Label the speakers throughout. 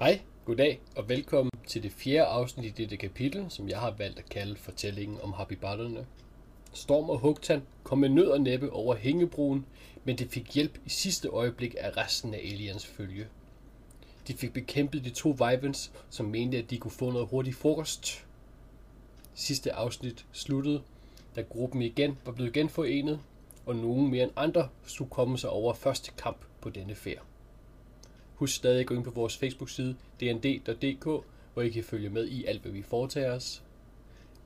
Speaker 1: Hej, goddag og velkommen til det fjerde afsnit i dette kapitel, som jeg har valgt at kalde fortællingen om habiballerne. Storm og Hugtan kom med nød og næppe over hængebroen, men det fik hjælp i sidste øjeblik af resten af aliens følge. De fik bekæmpet de to Vivens, som mente, at de kunne få noget hurtig frokost. Sidste afsnit sluttede, da gruppen igen var blevet genforenet, og nogen mere end andre skulle komme sig over første kamp på denne færd. Husk stadig at gå ind på vores Facebook-side dnd.dk, hvor I kan følge med i alt, hvad vi foretager os.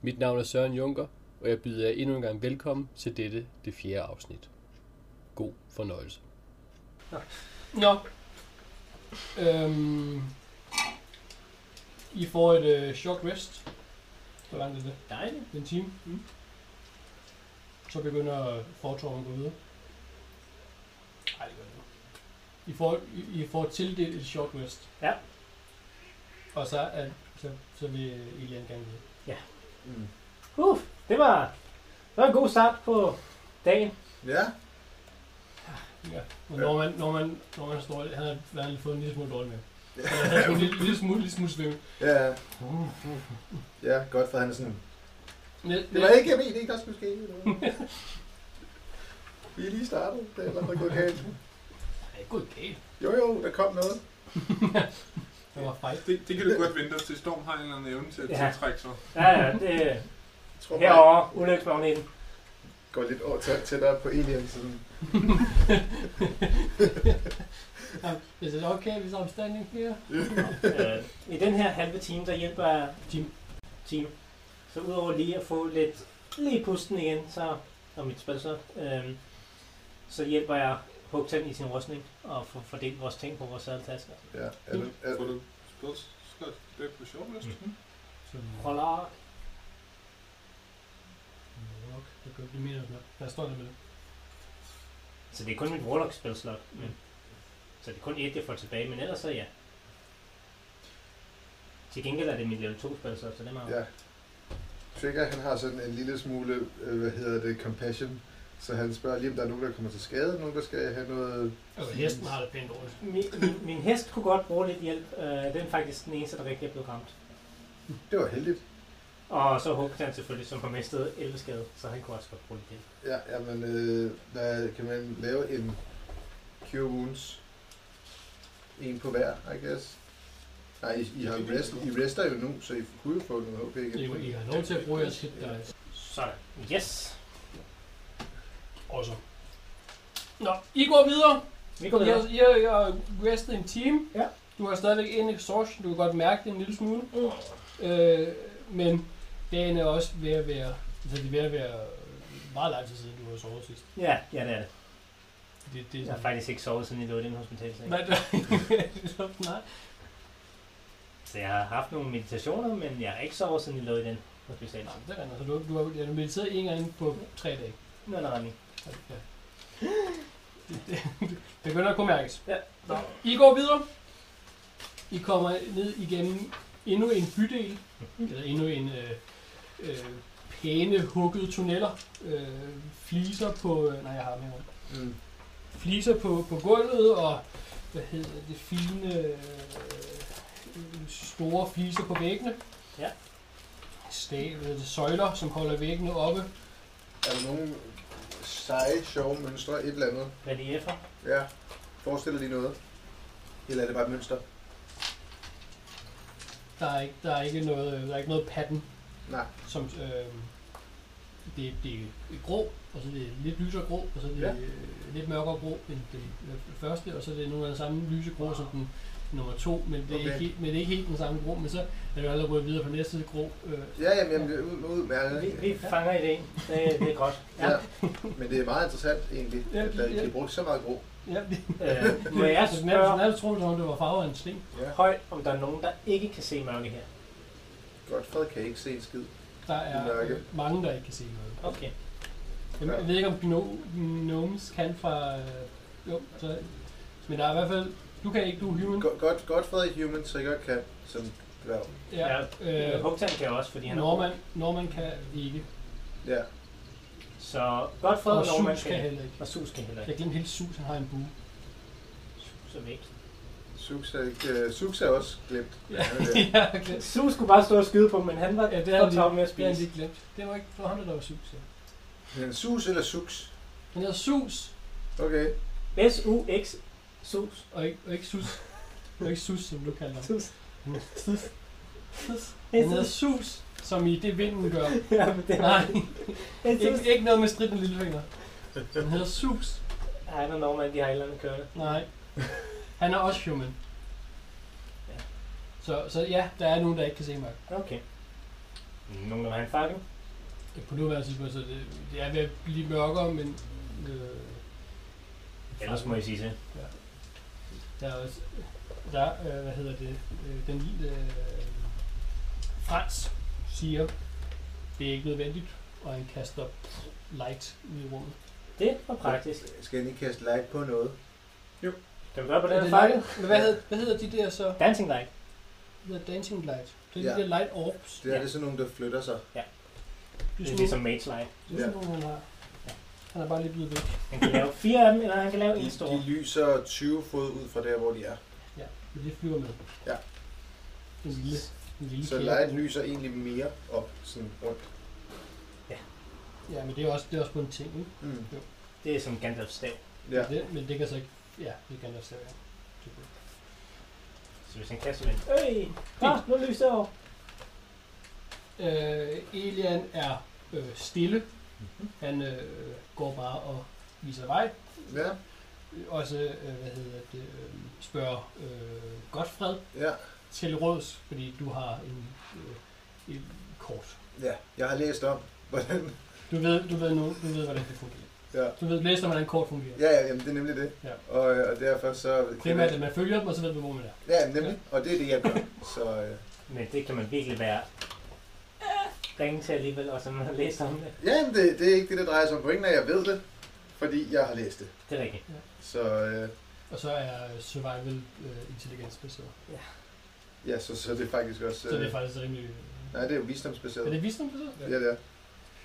Speaker 1: Mit navn er Søren Junker, og jeg byder jer endnu en gang velkommen til dette, det fjerde afsnit. God fornøjelse.
Speaker 2: Nå. Øhm, I får et øh, short rest. Hvor langt er det?
Speaker 3: Dejligt.
Speaker 2: Det er en time.
Speaker 3: Mm.
Speaker 2: Så begynder fortorven at gå videre. Nej, det gør det ikke. I får, I, I får tildelt et short rest.
Speaker 3: Ja.
Speaker 2: Og så, er, så, så vil Elian gerne vide.
Speaker 4: Mm.
Speaker 3: Uff, det var, det var en god start på dagen.
Speaker 4: Ja,
Speaker 2: Ja. Men når man, når man, når man står, han har, han har fået en lille smule dårlig med. Han har fået en lille, lille smule, lille smule svømme.
Speaker 4: ja, ja, godt for han er sådan.
Speaker 2: Næ-
Speaker 4: Det var ikke, jeg ved ikke, der skulle ske noget. Vi er lige startet, det er eller andet gået galt.
Speaker 2: Nej, gået galt.
Speaker 4: Jo jo, der kom noget.
Speaker 2: Det var fejl.
Speaker 5: Det, det kan du godt vente os til. Storm har en eller anden evne til at
Speaker 3: Ja.
Speaker 5: tiltrække sig.
Speaker 3: Ja, ja, det
Speaker 4: Jeg tror, bare,
Speaker 3: herovre, ulykkesmagneten.
Speaker 4: jeg går lidt over tæ- tættere på alien. Sådan.
Speaker 2: Is it okay, hvis I'm standing here?
Speaker 3: Øh, I den her halve time, der hjælper
Speaker 2: Tim.
Speaker 3: Tim. Så udover lige at få lidt lige pusten igen, så, og mit spil så, øh, så hjælper jeg Hugtan i sin rustning og får fordelt vores ting på vores sadeltasker.
Speaker 4: Ja, er det, er,
Speaker 5: Får du spørgsmål? Det er på shortlist.
Speaker 2: Mhm.
Speaker 3: Roller.
Speaker 2: Warlock. Det kan blive mere noget. Hvad står der med det?
Speaker 3: Så det er kun mit warlock spilslot. Men, så det er kun et, jeg får tilbage, men ellers så ja. Til gengæld er det mit level 2 spilslot, så det er meget.
Speaker 4: ja. Trigger, han har sådan en lille smule, øh, hvad hedder det, compassion. Så han spørger lige, om der er nogen, der kommer til skade, nogen, der skal have noget...
Speaker 2: Altså, hesten har det pænt dårligt.
Speaker 3: Min, min, min hest kunne godt bruge lidt hjælp. Øh, den er faktisk den eneste, der rigtig er blevet ramt.
Speaker 4: Det var heldigt.
Speaker 3: Og så Håkan selvfølgelig, som har mistet 11 skade, så han kunne også godt bruge lidt hjælp.
Speaker 4: Ja, jamen, øh, hvad, kan man lave en Cure Wounds? En på hver, I guess. Nej, I, I, har rest, I rester jo nu, så I kunne jo få noget HP
Speaker 2: Det er jo, I
Speaker 4: igen.
Speaker 2: har lov til at bruge jeres hit dice.
Speaker 3: Sådan. Yes.
Speaker 2: Også. Nå, I går videre.
Speaker 3: Vi går
Speaker 2: Jeg,
Speaker 3: videre.
Speaker 2: jeg, jeg har restet en time.
Speaker 3: Ja.
Speaker 2: Du har stadigvæk en exhaustion. Du kan godt mærke det en lille smule. Øh, men dagen er også ved at være... Altså, det er ved at være meget lang tid siden, du har sovet sidst.
Speaker 3: Ja, ja, det er det.
Speaker 2: Det, det er
Speaker 3: Jeg har
Speaker 2: sådan...
Speaker 3: faktisk ikke sovet, siden jeg lå i den hospitalseng.
Speaker 2: Nej, det- nej.
Speaker 3: Så jeg har haft nogle meditationer, men jeg har ikke sovet, siden jeg lå i den
Speaker 2: Nej,
Speaker 3: hospitalseng.
Speaker 2: det er rent. Altså, du, du har du har mediteret en gang på tre dage.
Speaker 3: Nå, nej, nej.
Speaker 2: Ja. Det, det, det begynder at kunne mærkes.
Speaker 3: Ja.
Speaker 2: Nå. I går videre. I kommer ned igennem endnu en bydel, eller endnu en øh, øh, pæne huggede tunneller. Øh, fliser på... Øh, nej, jeg har dem herovre.
Speaker 4: Mm.
Speaker 2: Fliser på, på gulvet, og hvad hedder det, fine øh, store fliser på væggene.
Speaker 3: Ja.
Speaker 2: Stav, hvad hedder det, søjler, som holder væggene oppe.
Speaker 4: Er der nogen seje, sjove mønstre, et eller andet?
Speaker 3: Reliefer.
Speaker 4: Ja. Forestiller de noget? Eller er det bare et mønster?
Speaker 2: Der er ikke, der er ikke noget, øh, der er ikke noget patten
Speaker 4: Nej.
Speaker 2: som øh, det, det er grå, og så er det lidt lysere grå, og så er det
Speaker 4: Ja.
Speaker 2: ja. øh, lidt mørkere grå end det øh, første, og så er det nogle af den samme lyse grå som den nummer to, men det, er
Speaker 4: Ah. Okay.
Speaker 2: ikke, helt- men det er ikke helt den samme grå, men så er det allerede gået videre på næste grå. Øh,
Speaker 4: Ja, jamen, jamen det er ud, ud med
Speaker 3: Vi, vi fanger ideen. Det, det er godt.
Speaker 4: Ja. Men det er meget interessant egentlig,
Speaker 2: Ja,
Speaker 4: at der ikke
Speaker 2: ja.
Speaker 4: bliver brugt så meget grå.
Speaker 2: ja, det,
Speaker 3: Øh, må jeg
Speaker 2: det, nærmest,
Speaker 3: spørge
Speaker 2: nærmest tror du, det var farvet af en sling.
Speaker 4: Ja.
Speaker 3: højt, om der er nogen, der ikke kan se mørke her?
Speaker 4: Godt, Fred kan ikke se en skid.
Speaker 2: Der er
Speaker 4: Mørke.
Speaker 2: øh, mange, der ikke kan se noget.
Speaker 3: Okay.
Speaker 2: Jeg,
Speaker 4: Ja.
Speaker 2: jeg ved ikke, om gno- gnomes kan fra... Øh, jo, så, men der er i hvert fald... Du kan ikke, du er human.
Speaker 4: Go- Godt, godt Fred i Human Trigger kan som dværg.
Speaker 2: Ja,
Speaker 3: Øh,
Speaker 2: øh,
Speaker 3: Hugtan kan også, fordi han er
Speaker 2: Norman, Norman kan ikke.
Speaker 4: Ja.
Speaker 3: Så godt for
Speaker 2: Og
Speaker 3: Norman
Speaker 2: Sus kan
Speaker 3: kan.
Speaker 2: heller ikke.
Speaker 3: Og Sus kan heller
Speaker 2: Jeg
Speaker 3: ikke.
Speaker 2: glemte helt Sus, han har en bue.
Speaker 3: Sus er væk.
Speaker 4: Sux er, ikke, uh, Sux er også glemt. Ja. Han er der.
Speaker 2: ja, glemt.
Speaker 3: Su skulle bare stå og skyde på dem, men han var
Speaker 2: Ja, det
Speaker 3: for
Speaker 2: havde
Speaker 3: tom med
Speaker 2: de,
Speaker 3: at
Speaker 2: det havde
Speaker 3: spise.
Speaker 2: de glemt. Det var ikke for ham, der var sus. Ja.
Speaker 4: Men Sus eller Sux?
Speaker 2: Han hedder Sus,
Speaker 4: Okay.
Speaker 3: S-U-X. Sus.
Speaker 2: og ikke, og ikke Sus. Og ikke Sus, som du kalder ham.
Speaker 3: Sus. Sus.
Speaker 2: Han hedder Sus, som i det vinden gør.
Speaker 3: Ja, men det var
Speaker 2: Nej,
Speaker 3: Sus.
Speaker 2: ikke, ikke noget med striden lillefinger. Han hedder Sus.
Speaker 3: Ej, der er nogen mand, de har et eller andet kørende.
Speaker 2: Nej. Han er også human.
Speaker 3: Ja.
Speaker 2: Så, så ja, der er nogen, der ikke kan se mig.
Speaker 3: Okay. Nogen, der har en fange.
Speaker 2: På nuværende tidspunkt, så det, det er ved at blive mørkere, men øh,
Speaker 3: Ellers må I sige til.
Speaker 2: der er også, der, øh, hvad hedder det, øh, den lille øh, Frans siger, det er ikke nødvendigt, og han kaster light ud i rummet.
Speaker 3: Det var praktisk.
Speaker 4: Skal han ikke kaste light på noget?
Speaker 3: Kan vi gøre på den
Speaker 2: Er
Speaker 3: her
Speaker 2: det
Speaker 3: fange?
Speaker 2: light? Men hvad, hedder, hvad hedder de der så?
Speaker 3: Dancing light.
Speaker 2: Det hedder dancing light. Det er
Speaker 4: Ja.
Speaker 2: de der light orbs.
Speaker 4: Det er
Speaker 3: Ja.
Speaker 4: det sådan nogle, der flytter sig.
Speaker 2: Det
Speaker 3: Det
Speaker 2: er
Speaker 3: er
Speaker 2: sådan
Speaker 3: ligesom mage light.
Speaker 2: det er sådan nogle, han har. Han er bare lidt ude væk.
Speaker 3: Han kan lave fire af dem, eller han kan lave
Speaker 4: De,
Speaker 3: en stor.
Speaker 4: de lyser 20 fod ud fra der, hvor de er.
Speaker 2: Ja, men det flyver med.
Speaker 4: Ja.
Speaker 2: En lille, en lille
Speaker 4: Så
Speaker 2: kæde.
Speaker 4: light lyser egentlig mere op sådan rundt.
Speaker 2: Ja, men det er også, det er også på en ting, ikke?
Speaker 4: Mm.
Speaker 3: Det er som Gandalfs stav.
Speaker 4: Ja.
Speaker 2: Det, men det kan så ikke... Ja, det kan der stadig. ja. Super.
Speaker 3: Så hvis han kaster den. Øj! Ah, nu lyser det over.
Speaker 2: Øh, Elian er øh, stille. Han øh, går bare og viser vej.
Speaker 4: Ja,
Speaker 2: Også, øh, hvad hedder det, øh, spørger øh, Godfred
Speaker 4: ja,
Speaker 2: til råds, fordi du har en, øh, en kort.
Speaker 4: ja. Jeg har læst om, hvordan...
Speaker 2: Du ved, du ved nu, du ved, hvordan det fungerer.
Speaker 4: Ja,
Speaker 2: Du ved, læser, hvordan kort fungerer.
Speaker 4: ja, ja jamen, det er nemlig det.
Speaker 2: Ja.
Speaker 4: Og, øh, og derfor så...
Speaker 2: Primært, at man følger dem, og så ved man, hvor man er.
Speaker 4: Ja, nemlig. Og det er det, jeg gør. Så øh,
Speaker 3: Men det kan man virkelig være Ah. ringe til alligevel, og så man har læst om det.
Speaker 4: ja, men det, det er ikke det, der drejer sig om pointen, er, at jeg ved det, fordi jeg har læst det.
Speaker 3: Det er rigtigt.
Speaker 4: Så øh,
Speaker 2: Og så er øh, survival øh, intelligensbaseret.
Speaker 4: ja, så, så det er faktisk også... øh,
Speaker 2: Så det er faktisk rimelig... Øh,
Speaker 4: Nej, det er jo
Speaker 2: er
Speaker 4: visdomsbaseret.
Speaker 2: det visdombaseret?
Speaker 4: Ja, det er.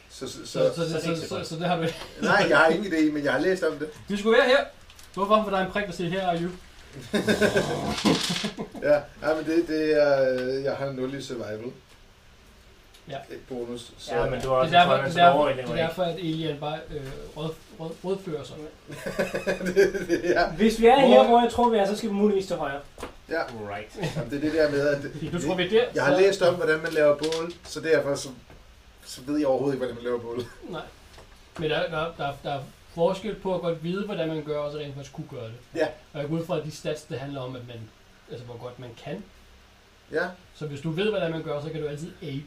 Speaker 4: Så, så,
Speaker 2: Så, så,
Speaker 4: så,
Speaker 3: så er
Speaker 2: så,
Speaker 3: det ikke
Speaker 2: så,
Speaker 3: så
Speaker 2: så,
Speaker 3: godt.
Speaker 2: så det har du ikke.
Speaker 4: nej, jeg har ingen idé, men jeg har læst om det.
Speaker 2: Du skulle være her. Hvorfor? For der er en prik, der siger, her er you.
Speaker 4: Ja, ja men det, det er, øh, jeg har 0 i survival.
Speaker 2: Ja.
Speaker 4: Et bonus. Så,
Speaker 3: Ja, men du har
Speaker 2: Det
Speaker 3: også
Speaker 2: er derfor,
Speaker 3: en
Speaker 2: det
Speaker 3: som
Speaker 2: er derfor,
Speaker 3: overlever
Speaker 2: det er derfor at Elian bare øh, råd, råd, rådfører sig.
Speaker 4: ja,
Speaker 3: ikke. Hvis vi er her,
Speaker 2: Hvor-
Speaker 3: hvor jeg tror, vi er, så skal vi muligvis til højre.
Speaker 4: ja.
Speaker 3: Right.
Speaker 4: Jamen, det er det der med, at det,
Speaker 2: Du tror, vi er der?
Speaker 4: jeg har
Speaker 2: så-
Speaker 4: læst om, hvordan man laver bål, så derfor så, så ved jeg overhovedet ikke, hvordan man laver bål.
Speaker 2: Nej. Men der, der, der, der er forskel på at godt vide, hvordan man gør, og så rent faktisk kunne gøre det.
Speaker 4: Ja.
Speaker 2: Og jeg går ud fra, at de stats, det handler om, at man, altså hvor godt man kan.
Speaker 4: Ja,
Speaker 2: Så hvis du ved, hvordan man gør, så kan du altid aid.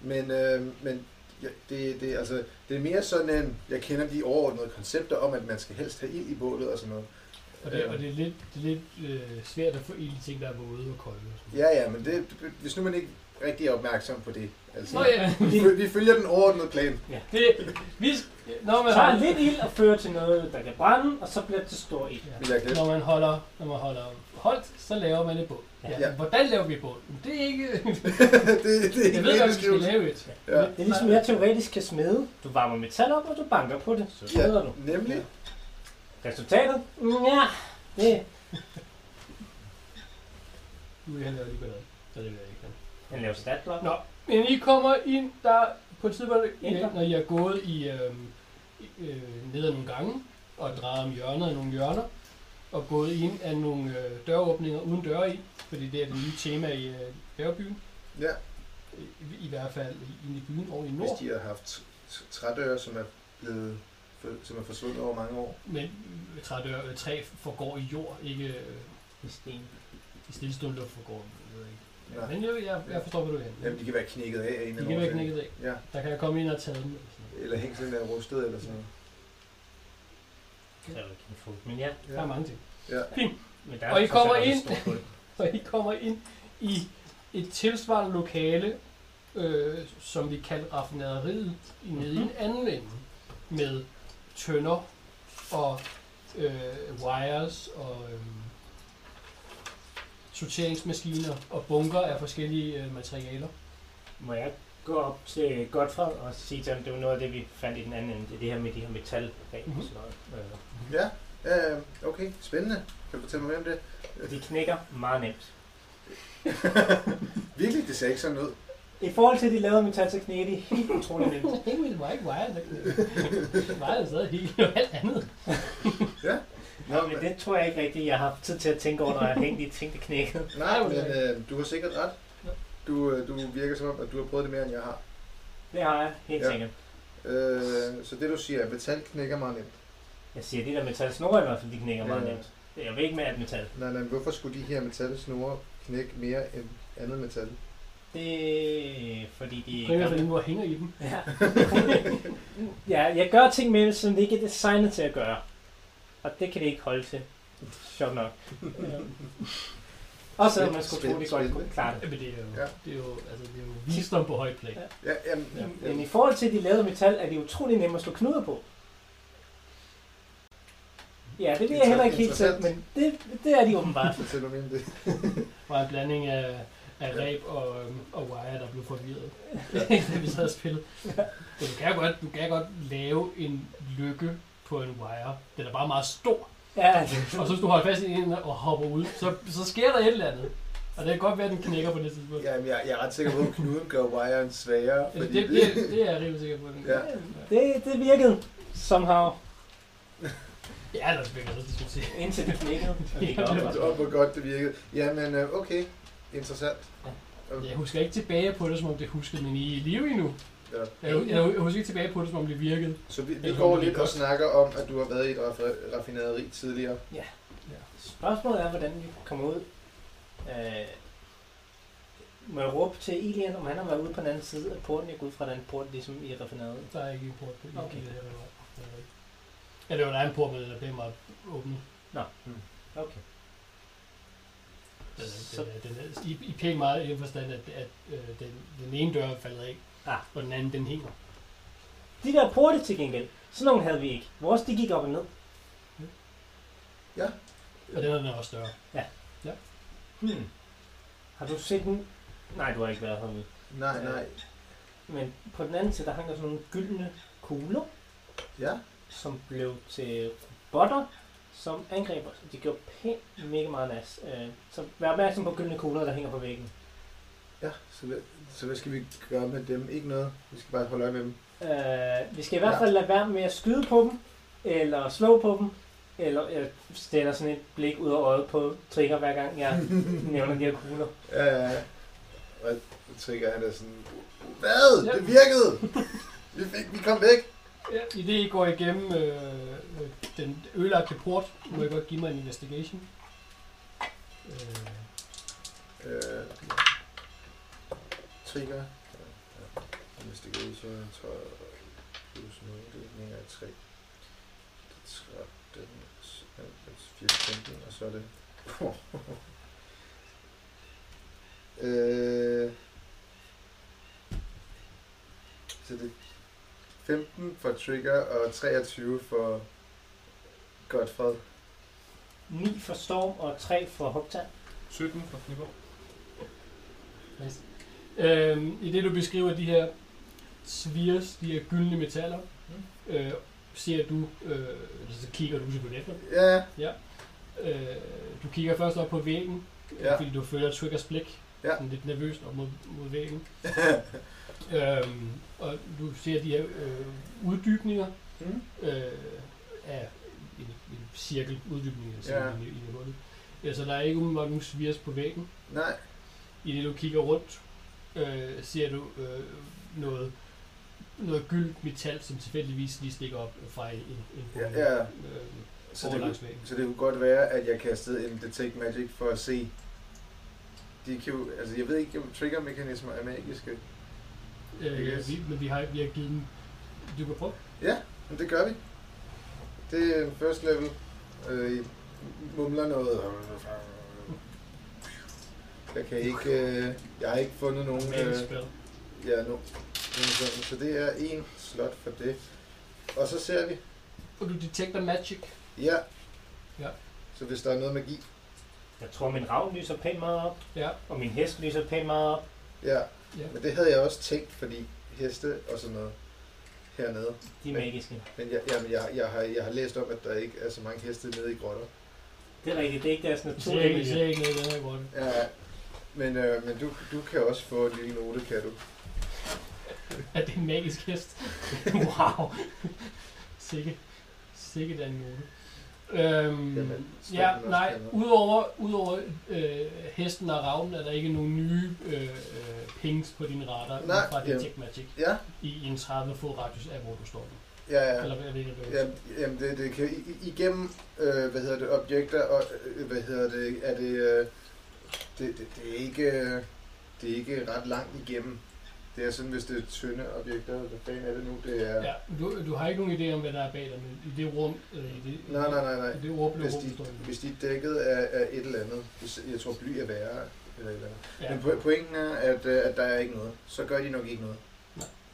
Speaker 4: men, øh, men ja, det, det, altså, det er mere sådan en, jeg kender de overordnede koncepter om, at man skal helst have ild i bålet og sådan noget.
Speaker 2: Og det,
Speaker 4: Øh,
Speaker 2: og det er lidt, det er lidt øh, svært at få ild i ting, der er våde og kolde. Og sådan. noget.
Speaker 4: Øh, Ja, ja, men det, hvis nu man ikke rigtig er opmærksom på det. Altså,
Speaker 2: Nå ja,
Speaker 4: vi, føl- vi følger den overordnede plan.
Speaker 2: det, vi, når man
Speaker 3: Så
Speaker 2: har,
Speaker 3: er lidt ild og fører til noget, der kan brænde, og så bliver det til stor ild.
Speaker 2: Ja.
Speaker 4: Vil jeg gætte?
Speaker 2: Når man holder, når man holder holdt, så laver man et bål. Ja.
Speaker 4: Ja.
Speaker 2: ja. Hvordan laver vi et bål? Men Det er ikke...
Speaker 4: det, det, er
Speaker 2: jeg
Speaker 4: ikke
Speaker 2: ved
Speaker 4: min
Speaker 2: godt, vi skal
Speaker 4: beskrivelse.
Speaker 2: lave et.
Speaker 4: Ja.
Speaker 3: Det er ligesom, jeg teoretisk kan smede. Du varmer metal op, og du banker på det. Så smeder
Speaker 4: Ja,
Speaker 3: du.
Speaker 4: nemlig.
Speaker 3: Resultatet? Ja. Det.
Speaker 2: Nu vil jeg lave lige ballade. Så det vil jeg ikke.
Speaker 3: Han laver statblok.
Speaker 2: Nå, men I kommer ind, der på et tidspunkt,
Speaker 3: Ændre.
Speaker 2: når I er gået i, øh, øh, ned ad nogle gange, og drejet om hjørner af nogle hjørner, og gået ind af nogle øh, døråbninger uden døre i, fordi det er det nye tema i øh, bjergbyen.
Speaker 4: Ja.
Speaker 2: I, I hvert fald i- inde i byen og i nord.
Speaker 4: Hvis de har haft t- t- trædøre, som er blevet for- som er forsvundet over mange år.
Speaker 2: Men øh, trædør, øh, træ forgår i jord, ikke øh,
Speaker 3: I sten.
Speaker 2: i stillestående luft forgår. Jeg ved ikke.
Speaker 4: Ja.
Speaker 2: Men jeg, jeg, jeg forstår, hvor du er henne.
Speaker 4: Jamen, de kan være knækket af af en
Speaker 2: De kan
Speaker 4: eller
Speaker 2: være
Speaker 4: anden
Speaker 2: knækket
Speaker 4: årsag.
Speaker 2: af.
Speaker 4: Ja,
Speaker 2: Der kan jeg komme ind og tage altså. dem. eller sådan noget.
Speaker 4: eller hængslen er rustet eller sådan noget.
Speaker 3: Det er jo ikke en fod, men ja.
Speaker 2: Der er
Speaker 4: Ja.
Speaker 2: mange ting.
Speaker 3: Men der er altså
Speaker 2: Og I
Speaker 3: trods alt
Speaker 2: kommer
Speaker 3: også et
Speaker 2: ind.
Speaker 3: stort hul.
Speaker 2: Og I kommer ind i et tilsvarende lokale, øh, som vi kalder raffinaderiet, i nede i en
Speaker 4: Mhm.
Speaker 2: anden ende, med tønder og øh, wires og øh, sorteringsmaskiner og bunker af forskellige øh, materialer.
Speaker 3: Må jeg gå op til Godfred og sige til ham, det var noget af det, vi fandt i den anden ende, det er det her med de her metal
Speaker 2: Mhm.
Speaker 3: mm-hmm.
Speaker 4: ja, Ja, okay, spændende. Kan du fortælle mig mere om det?
Speaker 3: De Øh, knækker meget nemt.
Speaker 4: Virkelig, det ser ikke sådan ud.
Speaker 3: I forhold til, at de lavede metal, så knækker de helt utroligt nemt.
Speaker 2: Jamen, det var ikke wired. Det var jo stadig helt og alt andet.
Speaker 3: Nå, men det tror jeg ikke rigtigt, jeg har haft tid til at tænke over, når jeg har hængt de ting, der knækkede.
Speaker 4: Nej,
Speaker 2: Nej,
Speaker 4: men øh, du har sikkert ret.
Speaker 2: Ja.
Speaker 4: Du, øh, du virker som om, at du har prøvet det mere, end jeg har.
Speaker 3: Det har jeg, helt
Speaker 4: Ja.
Speaker 3: ja. sikkert.
Speaker 4: Øh, så det du siger, er, at metal knækker meget nemt.
Speaker 3: Jeg siger, de der metalsnore i hvert fald, de knækker meget
Speaker 4: Ja.
Speaker 3: nemt. Jeg vil ikke med alt metal.
Speaker 4: Nej, nej, hvorfor skulle de her metalsnore knække mere end andet metal?
Speaker 3: Det er fordi, de
Speaker 2: Prøv i hvert fald, hvor hænger i dem.
Speaker 3: Ja. ja, jeg gør ting med det, som det ikke er designet til at gøre. Og det kan det ikke holde til. Sjovt nok. og selvom man skulle tro,
Speaker 4: Spændende,
Speaker 3: det godt kunne
Speaker 4: spændende.
Speaker 3: klare det.
Speaker 2: Jamen, det er jo,
Speaker 4: Ja.
Speaker 2: det er jo, altså, det er jo visdom på højt plan.
Speaker 4: Ja, jamen,
Speaker 3: Ja,
Speaker 4: jamen,
Speaker 3: Men i forhold til, at de lavede metal, er det utrolig nemt at slå knuder på. Ja, det ved jeg heller ikke helt selv, men det, det er de åbenbart.
Speaker 4: fortæl mig mere om det.
Speaker 2: var en blanding af, af ræb og, øhm, og wire, der blev forvirret, da vi sad og spillede. Men du kan jo godt, du kan godt lave en lykke på en wire. Den er bare meget stor.
Speaker 3: Ja, det,
Speaker 2: Og så hvis du holder fast i en og hopper ud, så, så sker der et eller andet. Og det kan godt være, at den knækker på det tidspunkt. Ja,
Speaker 4: Jamen, jeg, jeg er ret sikker på, at knuden gør wiren svagere.
Speaker 2: det, det, det, det er jeg rimelig sikker på. at Den.
Speaker 4: Ja.
Speaker 3: det, det virkede somehow,
Speaker 2: ja, der er spændende, det skulle jeg sige.
Speaker 3: indtil det knækkede. Og det gik op,
Speaker 4: det
Speaker 3: altså.
Speaker 4: var, hvor godt det virkede. Jamen, øh, okay. Interessant.
Speaker 2: Jeg husker ikke tilbage på det, som om det huskede, men I er i live endnu.
Speaker 4: Ja.
Speaker 2: Jeg, jeg, jeg husker ikke tilbage på det, som om det virkede.
Speaker 4: Så vi, vi
Speaker 2: Jeg
Speaker 4: går
Speaker 2: håber, det
Speaker 4: lidt
Speaker 2: er
Speaker 4: og
Speaker 2: godt.
Speaker 4: snakker om, at du har været i et raffi- raffinaderi tidligere.
Speaker 3: Spørgsmålet er, hvordan vi kommer ud. Øh, må jeg råbe til Elian, om han har været ude på den anden side af porten? Jeg går ud fra den port, ligesom i raffinaderiet.
Speaker 2: Der er ikke en port på. Jeg okay.
Speaker 3: Okay.
Speaker 2: her, eller Ja, det var der er en port, men den er pænt meget åbnet.
Speaker 3: hmm. Okay.
Speaker 2: Den er,
Speaker 3: Så-
Speaker 2: den er, den er, i, I pænt meget i den forstand, at, at øh, den, den ene dør er faldet af,
Speaker 3: Ah.
Speaker 2: og den anden, den hænger.
Speaker 3: De der porte til gengæld, sådan nogle havde vi ikke. Vores, de gik op og ned.
Speaker 2: Og den er den er også større.
Speaker 3: Hmm. Har du set den? Nej, du har ikke været herude.
Speaker 4: Nej, nej.
Speaker 3: Men på den anden side, der hang der sådan nogle gyldne kugler,
Speaker 4: Ja,
Speaker 3: som blev til robotter, som angreb os. De gjorde pænt mega meget nas. Øh, så vær opmærksom på gyldne kugler, der hænger på væggen.
Speaker 4: ja. Så, hvad- så hvad skal vi gøre med dem? Ikke noget. Vi skal bare holde øje med dem.
Speaker 3: Øh, vi skal i hvert
Speaker 4: Ja.
Speaker 3: fald lade være med at skyde på dem, eller slå på dem, eller jeg stiller sådan et blik ud af øjet på trigger, hver gang jeg nævner de her kugler.
Speaker 4: Ja, ja, ja. Og så tænker han er sådan, hvad? Det virkede! Vi, fik, vi kom væk!
Speaker 2: Ja. I det, I går igennem øh, øh, den ødelagte port, må jeg godt give mig en investigation. Øh,
Speaker 4: Øh, trigger. Ja, ja. Investigation, jeg tror, plus 0, det mener jeg 3. Det er 13, 4, 15, og så er det... øh, så det er 15 for Trigger og 23 for Godfred.
Speaker 3: 9 for Storm og 3 for Hugtan.
Speaker 5: 17 fra Knibor.
Speaker 2: Nice. Øhm, I det du beskriver de her svirs, de her gyldne metaller, mm. øh, ser du, øh, altså, så kigger du selvfølgelig efter.
Speaker 4: Ja,
Speaker 2: Øh, du kigger først op på væggen,
Speaker 4: Ja.
Speaker 2: ja. fordi du følger Triggers blik,
Speaker 4: Ja.
Speaker 2: ja. sådan lidt nervøst op mod, mod væggen. øhm, og du ser de her øh, uddybninger
Speaker 4: Mm.
Speaker 2: øh, af en, en cirkel, uddybning af cirkel
Speaker 4: Ja.
Speaker 2: ja. i, i hullet. Ja, så der er ikke umiddelbart nogen svirs på væggen.
Speaker 4: nej.
Speaker 2: I det du kigger rundt, øh, ser du øh, noget, noget gyldt metal, som tilfældigvis lige stikker op fra en, en, en
Speaker 4: Ja, ja.
Speaker 2: Øh,
Speaker 4: Så det,
Speaker 2: langs
Speaker 4: kunne,
Speaker 2: væggen.
Speaker 4: så det kunne godt være, at jeg kastede en Detect Magic for at se. De kan jo, altså jeg ved ikke, om triggermekanismer er magiske.
Speaker 2: øh, ja,
Speaker 4: Yes.
Speaker 2: vi, men vi har, vi har givet dem... Du kan prøve.
Speaker 4: Men det gør vi. Det er first level. Øh, I mumler noget. Jeg kan ikke, øh, jeg har ikke fundet nogen,
Speaker 2: Magic
Speaker 4: øh,
Speaker 2: spell.
Speaker 4: ja, no, nogen sådan. Så det er en slot for det. Og så ser vi,
Speaker 2: Og du detekter magic.
Speaker 4: ja.
Speaker 2: Ja.
Speaker 4: Så hvis der er noget magi,
Speaker 3: Jeg tror, min ravn lyser pænt meget op,
Speaker 2: Ja.
Speaker 3: og min hest lyser pænt meget op.
Speaker 4: ja.
Speaker 2: Ja.
Speaker 4: Men det havde jeg også tænkt, fordi heste og sådan noget. hernede.
Speaker 3: De er
Speaker 4: Ja.
Speaker 3: magiske.
Speaker 4: Men jeg, jamen, jeg, jeg, har, jeg har læst om, at der ikke er så mange heste nede i grotter.
Speaker 3: Det er rigtigt, det er ikke deres
Speaker 2: Det ser ikke,
Speaker 3: naturlige
Speaker 2: det
Speaker 3: miljø.
Speaker 2: ser ikke noget i den her grotte.
Speaker 4: Ja, men, øh, men du, du kan også få en lille note, kan du?
Speaker 2: Ja, det er en magisk hest. wow. Sikke, sikke den måde. Øhm,
Speaker 4: Jamen, Steffen
Speaker 2: ja,
Speaker 4: også
Speaker 2: nej,
Speaker 4: kan noget.
Speaker 2: udover, udover øh, hesten og ravnen, er der ikke nogen nye øh, øh, pings på din radar
Speaker 4: Nej,
Speaker 2: fra
Speaker 4: ja.
Speaker 2: Detect Magic
Speaker 4: Ja,
Speaker 2: i en 30 fod radius af, hvor du står nu.
Speaker 4: ja, ja.
Speaker 2: Eller hvad jeg ved ikke, hvad det er.
Speaker 4: Jamen, jamen det, det kan, i- igennem, øh, hvad hedder det, objekter, og øh, hvad hedder det, er det, øh, det, det, det, er ikke, øh, det er ikke ret langt igennem. Det er sådan, hvis det er tynde objekter, hvad fanden er det nu, det er...
Speaker 2: Ja, du, du har ikke nogen idé om, hvad der er bag dig, men i det rum, øh, i det,
Speaker 4: Nej, nej, nej, nej.
Speaker 2: i det ordblå
Speaker 4: Hvis
Speaker 2: rum,
Speaker 4: de,
Speaker 2: du står i.
Speaker 4: hvis de er dækket af, af et eller andet, hvis, jeg tror bly er værre, eller et eller andet. Ja.
Speaker 2: Ja.
Speaker 4: Men po- pointen er, at, øh, at der er ikke noget. Så gør de nok ikke noget.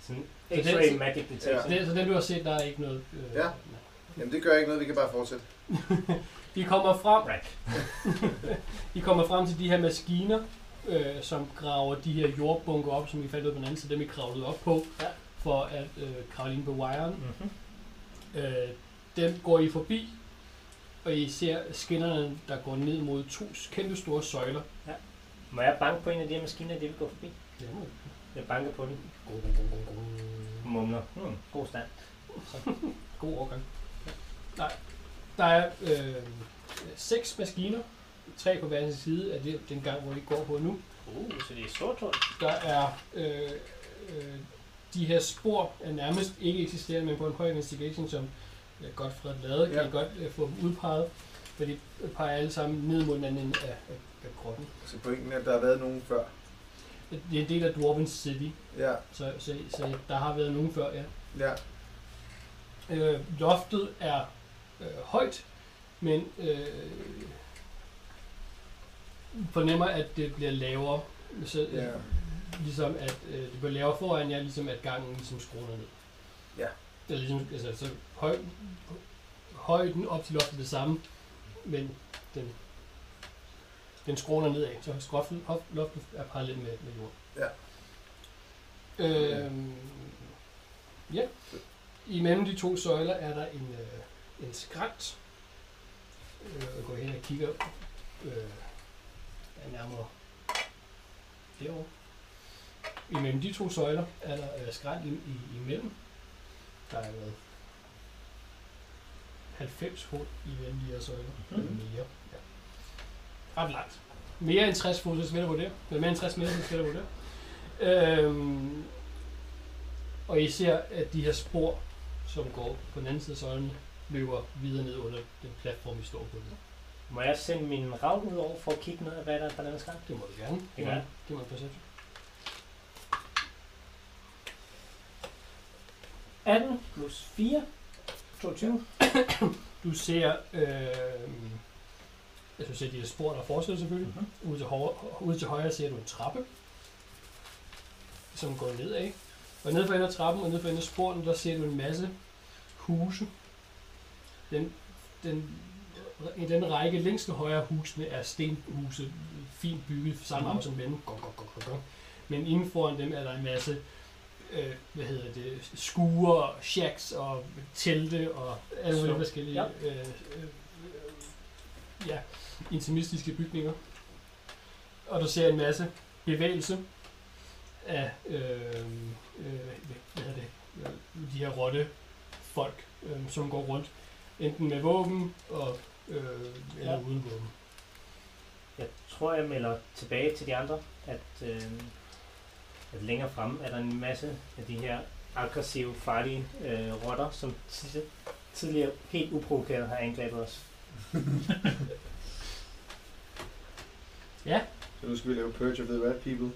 Speaker 3: Sådan
Speaker 2: Så det-
Speaker 3: X-ray magic
Speaker 4: Ja.
Speaker 3: detection.
Speaker 2: Det, så den du har set, der er ikke noget... Øh,
Speaker 4: Ja. Jamen det gør ikke noget, vi kan bare fortsætte.
Speaker 2: I kommer frem, I kommer frem til de her maskiner, øh, som graver de her jordbunker op, som I fandt ud på den anden side, dem I kravlede op på,
Speaker 3: Ja.
Speaker 2: for at øh, kravle ind på wiren.
Speaker 3: Mhm.
Speaker 2: Øh, dem går I forbi, og I ser skinnerne, der går ned mod to kæmpe store søjler.
Speaker 3: Må jeg banke på en af de her maskiner, det vi går forbi?
Speaker 2: Jamen,
Speaker 3: Jeg banker på den.
Speaker 2: grum, grum, grum, grum, grum.
Speaker 3: Mumler. Hmm. God stand.
Speaker 2: God overgang. Nej, der er øh, seks maskiner, tre på hver sin side af det, den gang, hvor I går på nu.
Speaker 3: Uh, så det er stort hul.
Speaker 2: Der er øh, øh, de her spor er nærmest ikke eksisterende, men på en høj investigation, som øh, Godfred lavede, kan
Speaker 4: Ja.
Speaker 2: I godt øh, få dem udpeget, for de peger alle sammen ned mod den anden ende af, af, af grotten.
Speaker 4: Så Altså, pointen er, at der har været nogen før.
Speaker 2: Det er en del af Dwarven City,
Speaker 4: Ja,
Speaker 2: så, så, så der har været nogen før, ja.
Speaker 4: ja.
Speaker 2: Øh, loftet er øh, højt, men øh, fornemmer, at det bliver lavere, så, øh,
Speaker 4: Ja.
Speaker 2: ligesom at øh, det bliver lavere foran jer, ligesom at gangen ligesom skruer ned.
Speaker 4: Ja.
Speaker 2: Det er ligesom, altså, så høj, højden op til loftet er det samme, men den, den skråner nedad, så skroftet, hof- loftet er parallelt med, med jorden.
Speaker 4: Ja.
Speaker 2: Øhm, ja. Imellem de to søjler er der en, øh, en skrænt. Øh, jeg går hen og kigger øh, er nærmere derovre. Imellem de to søjler er der øh, skrænt i, i, imellem. Der er været 90 fod imellem de her søjler.
Speaker 3: Mhm.
Speaker 2: Mm-hmm. Mere. Ja. Ret langt. Mere end 60 fod, så skal jeg på det. Men mere end 60 meter, så skal jeg på det. Øhm, og I ser, at de her spor, som går på den anden side af søjlen, løber videre ned under den platform, vi står på. nu.
Speaker 3: Må jeg sende min rav ud over for at kigge ned af, hvad der er på den her skrænt?
Speaker 2: Det må du gerne.
Speaker 3: Det
Speaker 2: Det må,
Speaker 3: gør jeg.
Speaker 2: det må en perception.
Speaker 3: 18 plus 4. 22.
Speaker 2: Du ser, øh, altså, du ser de her spor, der fortsætter selvfølgelig.
Speaker 3: Mhm.
Speaker 2: Ude til, højre, ude til højre ser du en trappe, som går nedad. Og ned for enden af trappen og ned for enden af sporene, der ser du en masse huse. Den, den, I den række længst til højre af husene er stenhuse, fint bygget, samme
Speaker 3: Mhm.
Speaker 2: mm. som mænd. Gong, gong, gong, gong, gong. Men inden foran dem er der en masse øh, hvad hedder det, skuer, shacks og telte og alle mulige
Speaker 3: Så,
Speaker 2: forskellige
Speaker 3: ja.
Speaker 2: øh, øh, øh, ja, intimistiske bygninger. Og du ser en masse bevægelse af øh, øh, hvad hedder det, øh, de her rotte folk, øh, som går rundt. Enten med våben og, øh, eller
Speaker 3: Ja.
Speaker 2: uden våben.
Speaker 3: Jeg tror, jeg melder tilbage til de andre, at, øh, at længere fremme er der en masse af de her aggressive, farlige øh, rotter, som tidlig- tidligere helt uprovokeret har angrebet os.
Speaker 4: Så nu skal vi lave Purge of the Rat People.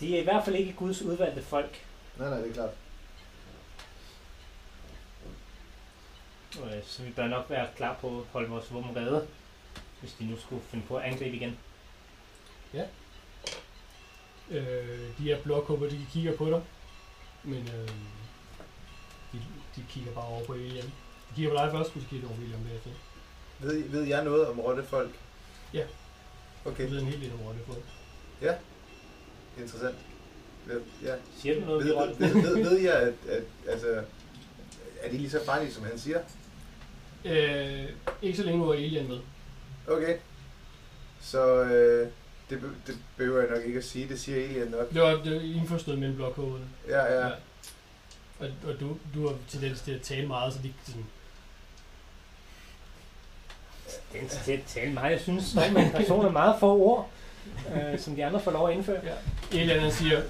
Speaker 3: De er i hvert fald ikke Guds udvalgte folk.
Speaker 4: Nej, nej, det er klart.
Speaker 3: Øh, Så vi bør nok være klar på at holde vores våben redde, hvis de nu skulle finde på at angribe igen.
Speaker 2: Øh, de her blåkupper, de kigger på dig, men øh, de, de kigger bare over på William. De kigger på dig først, men så kigger de over på E William bagefter.
Speaker 4: Ved, I- ved jeg noget om rottefolk?
Speaker 2: Ja.
Speaker 4: Okay,
Speaker 2: Det ved en helt lille rotte på.
Speaker 4: interessant. Ved- Ja.
Speaker 3: Siger du noget,
Speaker 4: Ved,
Speaker 3: Virold?
Speaker 4: ved, ved, ved jeg, at, at, altså, er de lige så farlige, som han siger?
Speaker 2: Øh, ikke så længe nu er Alien med.
Speaker 4: Okay. Så øh, det, be- det behøver jeg nok ikke at sige. Det siger Elian nok.
Speaker 2: Det var, det var indforstået mellem blokhovederne.
Speaker 4: Ja, ja.
Speaker 2: Ja. Og, og du, du har tendens til at tale meget, så de sådan...
Speaker 3: Den til at tale mig. Jeg synes, at min person er meget få ord, øh, som de andre får lov at indføre.
Speaker 2: Alien han siger...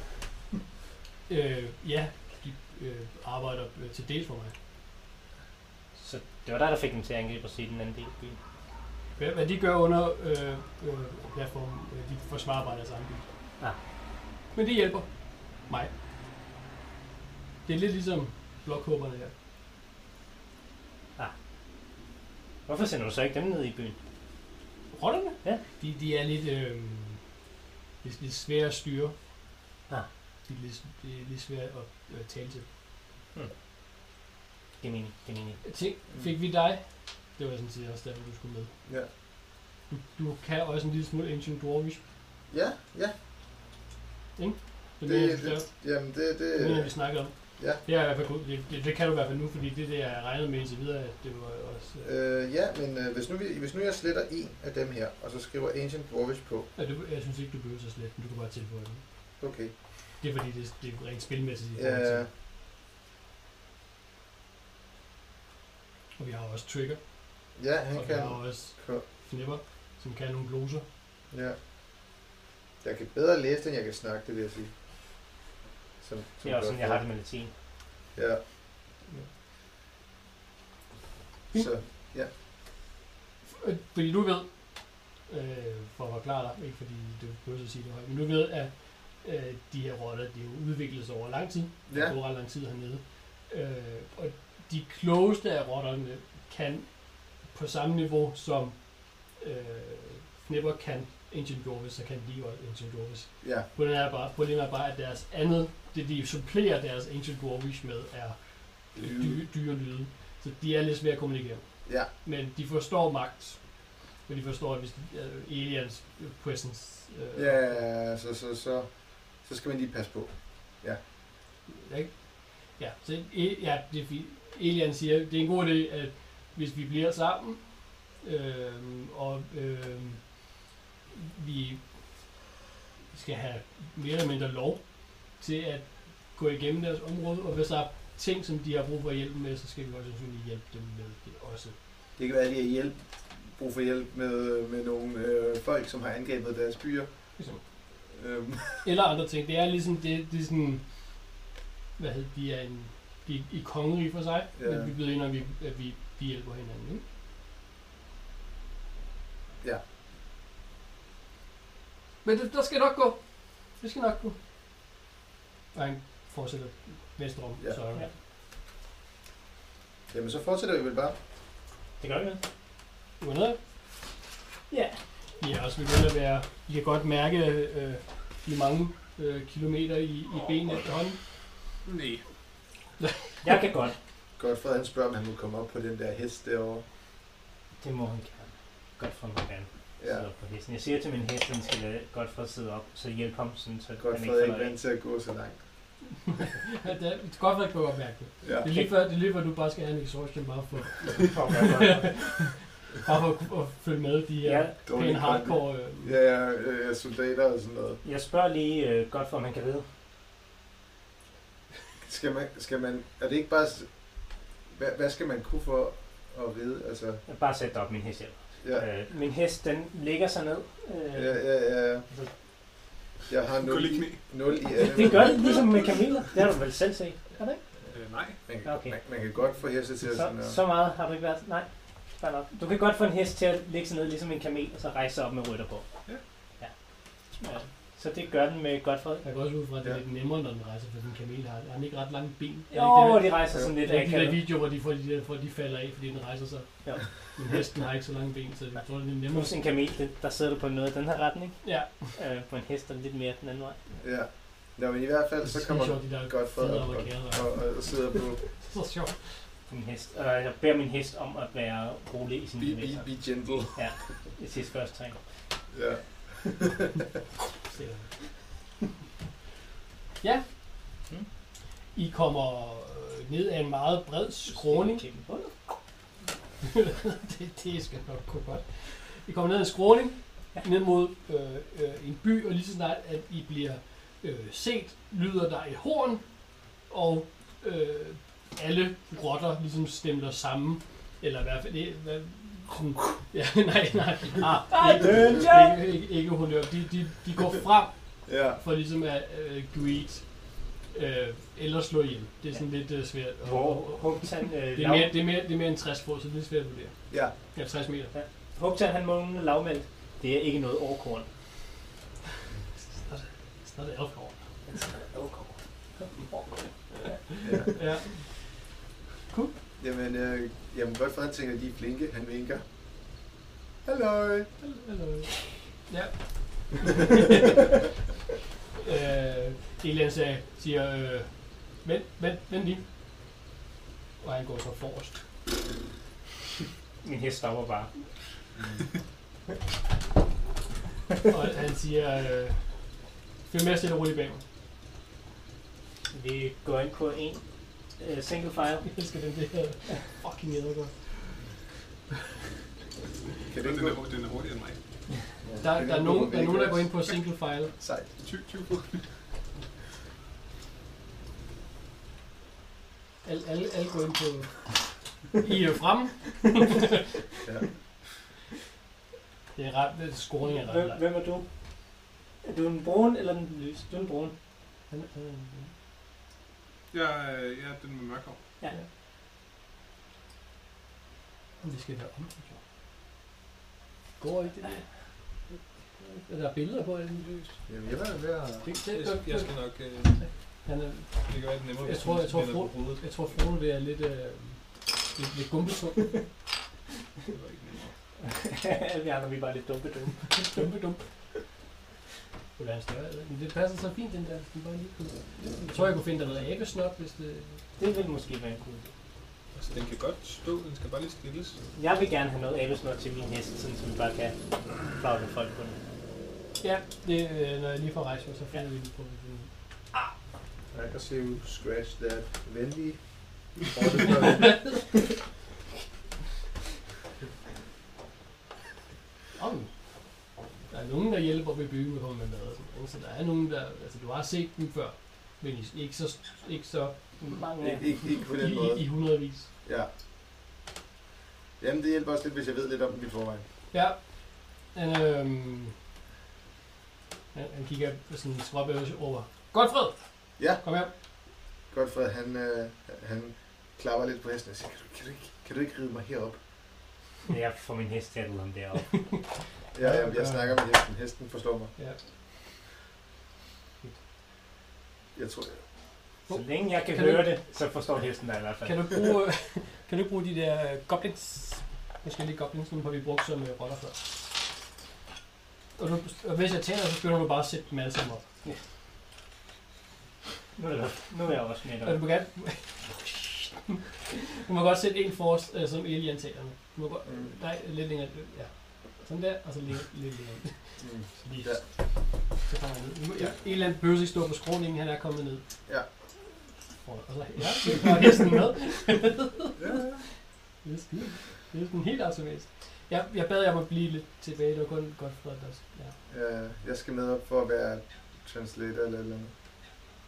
Speaker 2: Øh, ja, de øh, arbejder øh, til dels for mig.
Speaker 3: Så det var dig, der fik dem til at angribe os i den anden del af byen.
Speaker 2: Hvad, hvad de gør under øh, øh, platformen, øh, de forsvarer bare deres egen bil.
Speaker 3: Ah.
Speaker 2: Men det hjælper mig. Det er lidt ligesom blokhåberne her.
Speaker 3: Hvorfor sender du så ikke dem ned i byen?
Speaker 2: Rollerne?
Speaker 3: Ja.
Speaker 2: De, de er lidt, øh, lidt, lidt svære at styre.
Speaker 3: Ah.
Speaker 2: De er lidt, de er lidt svære at øh, tale til.
Speaker 3: Det er mening, det er mening.
Speaker 2: Jeg tænk, fik vi dig? Det var sådan set også der, du skulle med.
Speaker 4: Ja.
Speaker 2: Du, du kan også en lille smule Ancient Dwarvish.
Speaker 4: Ja, ja.
Speaker 2: Det,
Speaker 4: Det-
Speaker 2: det, det,
Speaker 4: Jamen, det... det
Speaker 2: Det mener vi snakker om.
Speaker 4: ja.
Speaker 2: Det, er i hvert fald god. Det, det, det, kan du i hvert fald nu, fordi det er det, jeg regnede med indtil videre, at det var også... Øh,
Speaker 4: øh, ja, men øh, hvis, nu vi, hvis nu jeg sletter en af dem her, og så skriver Ancient Dwarvish på,
Speaker 2: at du, jeg synes ikke, du behøver så slet, men du kan bare tilføje det.
Speaker 4: okay.
Speaker 2: Det er fordi, det, det er rent spilmæssigt. i forhold
Speaker 4: Øh,
Speaker 2: til. Og vi har også trigger,
Speaker 4: ja, han
Speaker 2: og vi
Speaker 4: kan...
Speaker 2: har også
Speaker 4: ko-
Speaker 2: knipper, som kan nogle gloser.
Speaker 4: Ja. Jeg kan bedre læse, end jeg kan snakke, det vil jeg sige. Som, som
Speaker 3: Det er også
Speaker 4: godt
Speaker 3: sådan, jeg har
Speaker 4: ved.
Speaker 3: det med latin.
Speaker 4: Ja.
Speaker 2: Fint.
Speaker 4: Så,
Speaker 2: Øh, Fordi du ved, øh, for at forklare dig, ikke fordi du behøver at sige det højt, men du ved, at øh, de her rotter, det er jo udviklet sig over lang tid.
Speaker 4: ja.
Speaker 2: Det går ret lang tid hernede. Øh, og de klogeste af rotterne kan på samme niveau som øh, Fnipper kan Ancient Dwarves, så kan de også Ancient Dwarves.
Speaker 4: Ja,
Speaker 2: Problemet er bare, problemet er bare at deres andet, det de supplerer deres Ancient Dwarvish med, er dyre, dyre lyde. Så de er lidt svære at kommunikere.
Speaker 4: Ja.
Speaker 2: Men de forstår magt. Og de forstår, at hvis øh, aliens presence... Øh,
Speaker 4: ja så, så, så, så skal man lige passe på.
Speaker 2: Ikke? Ja, så e- ja, det er fint. Elian siger, det er en god idé, at hvis vi bliver sammen, øh, og øh, vi skal have mere eller mindre lov til at gå igennem deres område, og hvis der er ting, som de har brug for hjælp med, så skal vi også sandsynligt hjælpe dem med det også.
Speaker 4: Det kan være, at de har hjælp, brug for hjælp med, med nogle øh, folk, som har angrebet deres byer.
Speaker 2: Ligesom.
Speaker 4: Øhm,
Speaker 2: Eller andre ting. Det er ligesom, det, det er sådan, hvad hedder det, de er en, de er i kongerige for sig,
Speaker 4: Ja.
Speaker 2: ja. men vi byder ind, og vi, at vi, vi hjælper hinanden. Ikke?
Speaker 4: Ja.
Speaker 2: Men det, der skal nok gå. Det skal nok gå. Og han fortsætter venstre om,
Speaker 4: Ja.
Speaker 2: ja. så er
Speaker 3: Ja.
Speaker 2: ja.
Speaker 4: jamen, så fortsætter vi vel bare.
Speaker 3: Det gør vi vel?
Speaker 2: Du er nede?
Speaker 3: Ja.
Speaker 2: I er også begyndt at være... I kan godt mærke øh, de mange øh, kilometer i, i benene efterhånden.
Speaker 5: Nej.
Speaker 3: Jeg kan godt.
Speaker 4: Godt, Fred, han spørger, om han må komme op på den der hest derovre.
Speaker 3: Det må han gerne. Godt for, at han gerne
Speaker 4: Ja,
Speaker 3: sidder op på hesten. Jeg siger til min hest, at han skal lade godt for at sidde op, så hjælp ham, sådan, så
Speaker 4: godt,
Speaker 3: han
Speaker 4: Fred
Speaker 3: ikke
Speaker 4: er ikke
Speaker 3: falder af.
Speaker 4: vant til at gå så langt.
Speaker 2: Ja, det er det er godt, at jeg kan godt mærke det.
Speaker 4: Ja,
Speaker 2: Det er lige før, det er lige før du bare skal have en exhaustion bare for,
Speaker 3: For at gøre godt.
Speaker 2: bare for at, at følge med de her
Speaker 3: Ja,
Speaker 2: ja, pæne hardcore... Øh,
Speaker 4: Ja, ja, øh, soldater og sådan noget.
Speaker 3: jeg spørger lige øh, godt for, om han kan ride.
Speaker 4: Skal man, skal man, er det ikke bare, s- hvad, hvad skal man kunne for at vide, altså,
Speaker 3: Bare sæt dig op, min hest hjælp.
Speaker 4: ja,
Speaker 3: Øh, min hest, den ligger sig ned. Øh,
Speaker 4: ja, ja, ja. Jeg har
Speaker 5: Gå
Speaker 4: 0,
Speaker 5: lige knæ.
Speaker 4: 0 i alle.
Speaker 3: Det gør det ligesom med kameler. Det har du vel selv set. Har du ikke?
Speaker 5: Øh, nej.
Speaker 4: Man, kan-
Speaker 3: Okay.
Speaker 4: man, man kan godt få heste til at sådan
Speaker 3: Så,
Speaker 4: at...
Speaker 3: så meget har du ikke været. Nej, fair nok. Du kan godt få en hest til at ligge sig ned ligesom en kamel, og så rejse sig op med rytter på.
Speaker 5: Ja.
Speaker 3: ja. ja. Så det gør den med godt fred.
Speaker 2: jeg går også ud fra, at det er
Speaker 4: Ja.
Speaker 2: lidt nemmere, når den rejser, for den kamel har, har den ikke ret lange ben. Er
Speaker 3: Jo,
Speaker 2: det,
Speaker 3: de rejser sådan
Speaker 2: ikke det,
Speaker 3: lidt
Speaker 2: det er de der
Speaker 3: akavet.
Speaker 2: videoer, hvor de, får de, der, hvor de falder af, fordi den rejser sig.
Speaker 3: Ja.
Speaker 2: Men hesten har ikke så lange ben, så jeg tror, det er nemmere.
Speaker 3: Hos en kamel, det- der sidder du på noget i den her retning.
Speaker 2: Ja,
Speaker 3: Øh, på en hest, der er lidt mere den anden vej.
Speaker 4: Ja. Nå, men i hvert fald,
Speaker 2: det
Speaker 4: så
Speaker 2: er så
Speaker 4: kommer
Speaker 2: sjovt, de der
Speaker 4: godt Fred
Speaker 2: fede
Speaker 4: op og,
Speaker 2: amerikanere.
Speaker 4: og, og sidder på...
Speaker 2: Så sjovt.
Speaker 3: På min hest. Og jeg beder min hest om at være rolig i sin
Speaker 4: Be, be,
Speaker 3: bevægelser.
Speaker 4: be gentle.
Speaker 3: Det sidste første ting.
Speaker 4: Ja.
Speaker 2: Se. Ja, kommer øh, ned af en meget bred skråning. det, det skal nok gå godt. I kommer ned ad en skråning, ned mod øh, øh, en by, og lige så snart, at I bliver øh, set, lyder der et horn, og øh, alle rotter ligesom stemmer sammen. Eller i hvert fald... Det, hvad, sådan, ja, nej, nej. Ah, ikke, ikke, ikke, ikke honør. De, de, de går frem
Speaker 4: Ja.
Speaker 2: for ligesom at øh, greet øh, eller slå ihjel. Det er sådan lidt øh, svært. at-
Speaker 3: Hvor Hugtan, øh,
Speaker 2: Det er, mere, det, er mere, det er mere end 60 fod, så det er lidt svært at vurdere.
Speaker 4: Ja.
Speaker 2: Ja, 60 meter.
Speaker 3: Hugtan, han mumler lavmældt. Det er ikke noget overkorn.
Speaker 2: Så er det alkohol.
Speaker 4: ja.
Speaker 2: Ja.
Speaker 4: Jamen, øh, jamen hvorfor han tænker, at de er flinke? Han vinker. Hallo.
Speaker 2: Eller- Ja. øh, Elian sagde, siger, øh, vent, vent, vent lige. Og han går så forrest.
Speaker 3: Min hest stopper bare.
Speaker 2: Og han siger, øh, følg med stille og roligt bag mig.
Speaker 3: Vi går ind på en øh, single fire.
Speaker 2: Jeg elsker den der fucking ædergård.
Speaker 4: Kan
Speaker 5: Den
Speaker 4: det
Speaker 5: er,
Speaker 4: gå?
Speaker 5: hu- den er hurtigere end mig.
Speaker 2: Der, der, er nogen, der er nogen, der går ind på single file.
Speaker 4: Sejt.
Speaker 5: 20, 20 fod.
Speaker 2: Alle, alle, alle går ind på... I er fremme.
Speaker 4: Ja.
Speaker 2: Det er ret... Det er scoring er ret
Speaker 3: Hvem,
Speaker 2: langt.
Speaker 3: hvem er du? Er du den brune eller den lys? Du er den brune.
Speaker 2: Han- øh, han-
Speaker 5: Ja, øh, ja, den med mørk hår.
Speaker 2: han- Vi skal have omkring. Går ikke det der? Er der billeder på det?
Speaker 4: Jamen, jeg var ved at...
Speaker 2: Det-
Speaker 5: Jeg,
Speaker 2: det- det-
Speaker 5: jeg skal nok... Øh,
Speaker 2: Han er,
Speaker 5: det gør det nemmere,
Speaker 2: Jeg
Speaker 5: hvis
Speaker 2: tror-
Speaker 5: man
Speaker 2: jeg tror,
Speaker 5: spænder på
Speaker 2: Fro-
Speaker 5: hovedet.
Speaker 2: jeg tror, Frode det er lidt, øh, lidt, lidt gumpetung.
Speaker 5: Det var ikke nemmere.
Speaker 3: vi andre, vi er bare lidt dumme dumme.
Speaker 2: Dumpe, dumpe. Det er en større, jeg ved ikke, men det passer så fint, den der. Den var lige kunne. Jeg tror, jeg kunne finde, der hedder abesnot, hvis det...
Speaker 3: Det ville måske være en god idé.
Speaker 5: Altså, den kan godt stå, den skal bare lige stilles.
Speaker 3: Jeg vil gerne have noget abelsnor til min hest, sådan så vi bare kan flagle folk på den.
Speaker 2: Ja, det, øh, når jeg lige får rejse mig, så finder vi den på. den.
Speaker 4: Aggressiv, scratch that, venlig.
Speaker 2: Om. Der er nogen, der hjælper ved byggeudhold med mad. og sådan noget, Så der er nogen, der... Altså, du har set dem før, men I- ikke så, ikke så
Speaker 3: Mange af
Speaker 4: Ik- ikke, ikke på
Speaker 2: i,
Speaker 4: den måde.
Speaker 2: i, i hundredvis.
Speaker 4: Ja. Jamen, det hjælper også lidt, hvis jeg ved lidt om dem i forvejen.
Speaker 2: Ja. Han, øhm, han, han kigger sådan skråbøvs over. Godfred!
Speaker 4: Ja.
Speaker 2: Kom her.
Speaker 4: Godfred, han, øh, han klapper lidt på hesten og siger, kan du, kan du, ikke, kan du ikke ride mig herop?
Speaker 3: dem. Jeg får min hest til at lade ham deroppe.
Speaker 4: Ja, jeg, jeg snakker med hesten. Hesten forstår mig.
Speaker 2: Ja.
Speaker 4: Jeg tror,
Speaker 3: Så længe jeg kan,
Speaker 2: Kan du-
Speaker 3: høre det, så forstår hesten dig i hvert fald.
Speaker 2: Kan du bruge, kan du bruge de der øh, goblins? Forskellige goblins, som har vi brugt som øh, rotter før. Og, du, og hvis jeg tænder, så begynder du bare at sætte dem alle sammen op.
Speaker 3: Nu er, jeg, nu er jeg også med
Speaker 2: Og du
Speaker 3: dig.
Speaker 2: må gerne... du må godt sætte en forrest, øh, som Elian tager med. Du må godt...
Speaker 4: Mm.
Speaker 2: Nej, lidt længere... Ja. Sådan der, og så lidt, lidt længere.
Speaker 4: mm,
Speaker 2: Lige.
Speaker 4: Ja.
Speaker 2: Så kommer han ned. Nu, ja. En eller anden bøsse ikke stå på skråningen, han er kommet ned.
Speaker 4: Ja.
Speaker 2: Og og så ja, så kommer hesten med.
Speaker 4: ja, ja.
Speaker 2: Det er skide. Det er sådan helt automatisk. Jeg, jeg bad jer om at blive lidt tilbage. Det var kun godt for dig. Ja.
Speaker 4: Øh, jeg skal med op for at være translator eller et eller andet.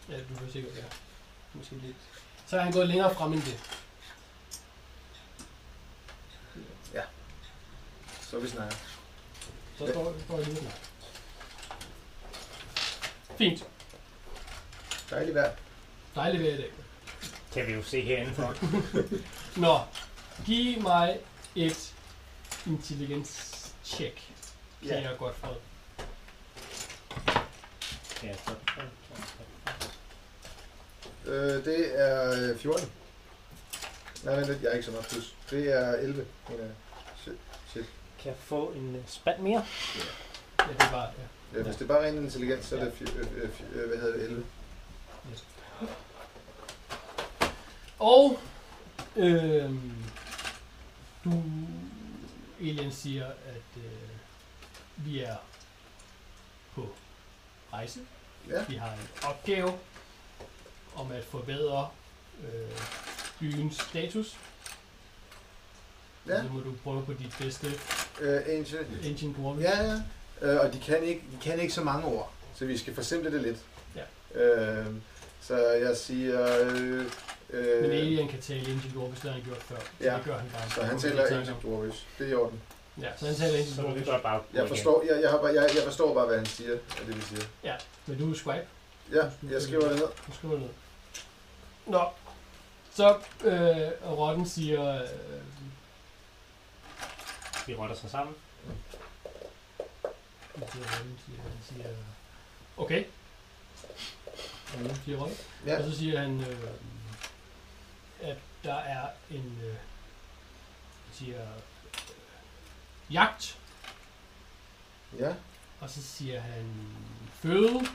Speaker 2: ja, du kan sikkert, ja. Måske lidt. Så er han gået længere frem end det.
Speaker 4: Så vi snakker.
Speaker 2: Så står, står jeg lige snart. Fint.
Speaker 4: Dejligt vejr.
Speaker 2: Dejligt vejr i dag.
Speaker 3: Kan vi jo se herindefra.
Speaker 2: Nå, giv mig et intelligens-check. Kan
Speaker 4: Ja.
Speaker 2: jeg godt for.
Speaker 3: Ja, så.
Speaker 4: Øh, det er øh, 14. Nej, vent lidt. Jeg er ikke så meget plus. Det er 11. mener jeg. Shit. Shit.
Speaker 3: Kan jeg få en øh, spand mere?
Speaker 2: Ja, det er bare, ja.
Speaker 4: Ja, hvis det er bare ren intelligens, så er det fj- øh, øh, fj- øh, hvad hedder det, 11.
Speaker 2: Og øh, du, Elian siger, at øh, vi er på rejse.
Speaker 4: Ja.
Speaker 2: Vi har en opgave om at forbedre øh, byens status.
Speaker 4: Ja.
Speaker 2: Ja.
Speaker 4: Mhm.
Speaker 2: Så må du prøve på dit bedste
Speaker 4: Øh, ancient.
Speaker 2: engine bruger.
Speaker 4: Ja, ja. Øh, og de kan, ikke, de kan ikke så mange ord, så vi skal forsimple det lidt.
Speaker 2: Ja.
Speaker 4: Øh, så jeg siger... Øh,
Speaker 2: Men
Speaker 4: øh,
Speaker 2: Alien kan tale engine bruger, hvis det har han gjort før. Så
Speaker 4: Ja.
Speaker 2: det gør han bare.
Speaker 4: så han taler ancient dwarvish. Det er i orden.
Speaker 2: Ja, så han taler engine
Speaker 3: Så må vi
Speaker 2: bruger.
Speaker 3: godt bare gå
Speaker 4: Jeg
Speaker 3: igen.
Speaker 4: forstår, jeg, jeg, har bare, jeg, jeg forstår bare, hvad han siger, og det vi siger.
Speaker 2: Men du er swipe.
Speaker 4: Ja, jeg skriver det ned.
Speaker 2: Nu skriver jeg ned. Nå. Så øh, og rotten siger, øh,
Speaker 3: Vi rotter sig sammen.
Speaker 2: hvad siger rotten? Siger, han siger, okay. Mm. Siger rotten.
Speaker 4: Ja.
Speaker 2: Og så siger han, øh, at der er en, øh, han siger, øh, jagt.
Speaker 4: Ja,
Speaker 2: Og så siger han, føde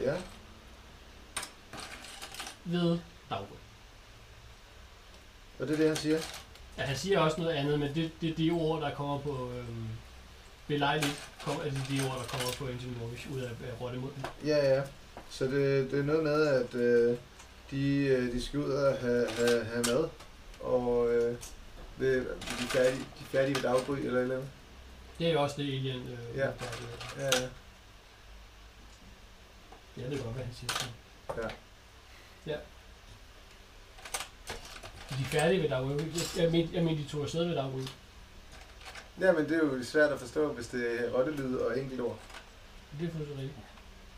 Speaker 4: ja.
Speaker 2: ved daggry.
Speaker 4: Og det er det, han siger.
Speaker 2: Ja, han siger også noget andet, men det, det er de ord, der kommer på... Øhm, belejligt kommer, altså de ord, der kommer på Engine Morvish ud af, af rottemunden.
Speaker 4: Ja, ja. Så det, det er noget med, at øh, de, øh, de skal ud og have, have, have mad, og øh, ved, de, er færdige, de er færdige ved daggry eller et eller andet.
Speaker 2: Det er jo også det, Alien... Øh,
Speaker 4: Ja.
Speaker 2: Der, øh,
Speaker 4: Ja, ja.
Speaker 2: jeg ved godt, hvad han siger.
Speaker 4: Ja.
Speaker 2: Ja. De er færdige ved Dagrud. Jeg mente, jeg mente, de tog afsted ved Dagrud.
Speaker 4: Ja, men det er jo svært at forstå, hvis det er rottelyd og enkelt ord.
Speaker 2: Det er fuldstændig rigtigt.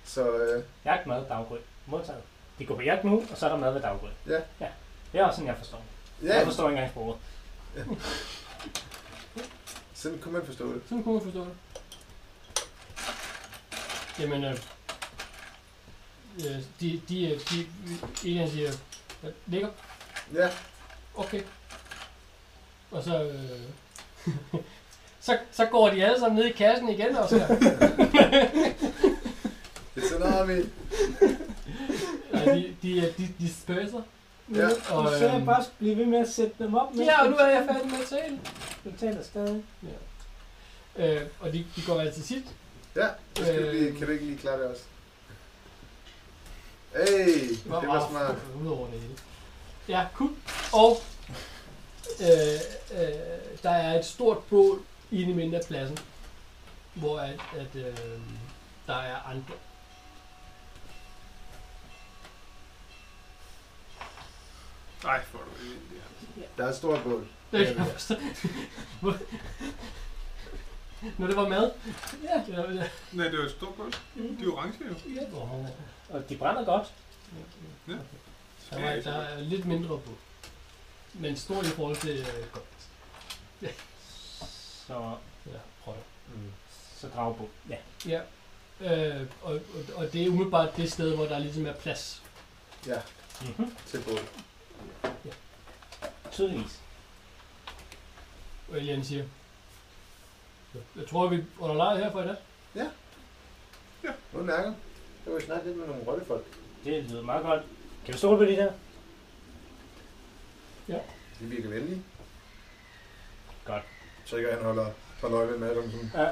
Speaker 4: Så øh,
Speaker 3: Jagt, mad, daggry. Modtaget. De går på jagt nu, og så er der mad ved daggry.
Speaker 4: Ja.
Speaker 3: ja. Det er også sådan, jeg forstår. Ja. Jeg
Speaker 4: ja,
Speaker 3: forstår ikke engang sproget.
Speaker 4: sådan kunne man forstå det.
Speaker 2: Sådan kunne man forstå det. Jamen, øh, øh, de, de, øh, de, Alien siger, "Hvad ligger
Speaker 4: Ja,
Speaker 2: Okay. Og så... Øh, så, så går de alle sammen ned i kassen igen også her.
Speaker 4: det er sådan noget, vi...
Speaker 2: Nej, de, de, er- de, de spøser.
Speaker 4: Ja.
Speaker 2: Og, Du sagde, øhm, bare
Speaker 3: skal blive ved med at sætte dem op.
Speaker 2: Ja, og nu er jeg færdig med at tale.
Speaker 3: Du taler stadig.
Speaker 2: Øh, og de, de går altid sit.
Speaker 4: Ja, så skal du lige, kan du ikke lige klare det også? Hey, det var smart.
Speaker 2: Udover det hele. Ja, cool. Og øh, øh, der er et stort bål inde i midten af pladsen, hvor at, at øh, der er andre.
Speaker 5: Nej, får du det. Ja.
Speaker 4: Der er et stort bål.
Speaker 2: Det
Speaker 4: Ja,
Speaker 2: er
Speaker 4: det
Speaker 2: jeg
Speaker 4: er.
Speaker 2: forstår. Når det var mad? Ja. Det var, det
Speaker 5: Nej, det er jo et stort gulv. De er orange jo.
Speaker 2: Ja.
Speaker 3: Og de brænder godt.
Speaker 2: Der, var, der er lidt mindre på. Men stort i forhold til øh, godt.
Speaker 3: Så,
Speaker 2: Ja, prøv.
Speaker 4: Mm.
Speaker 3: så drager på. Ja.
Speaker 2: Ja. Øh, og, og, og, det er umiddelbart det sted, hvor der ligesom er plads.
Speaker 4: Ja,
Speaker 3: Mm-hmm.
Speaker 4: til bål.
Speaker 3: Tydeligvis.
Speaker 2: Og Elian siger. Jeg tror, vi holder lejet her for i dag.
Speaker 4: Udmærket. Det var snart lidt med nogle rottefolk.
Speaker 3: Det lyder meget godt. Kan du stole på det der?
Speaker 4: De virker venlige.
Speaker 3: Godt.
Speaker 4: Så ikke han holder, holder øje med Adam. Sådan.
Speaker 3: Ja.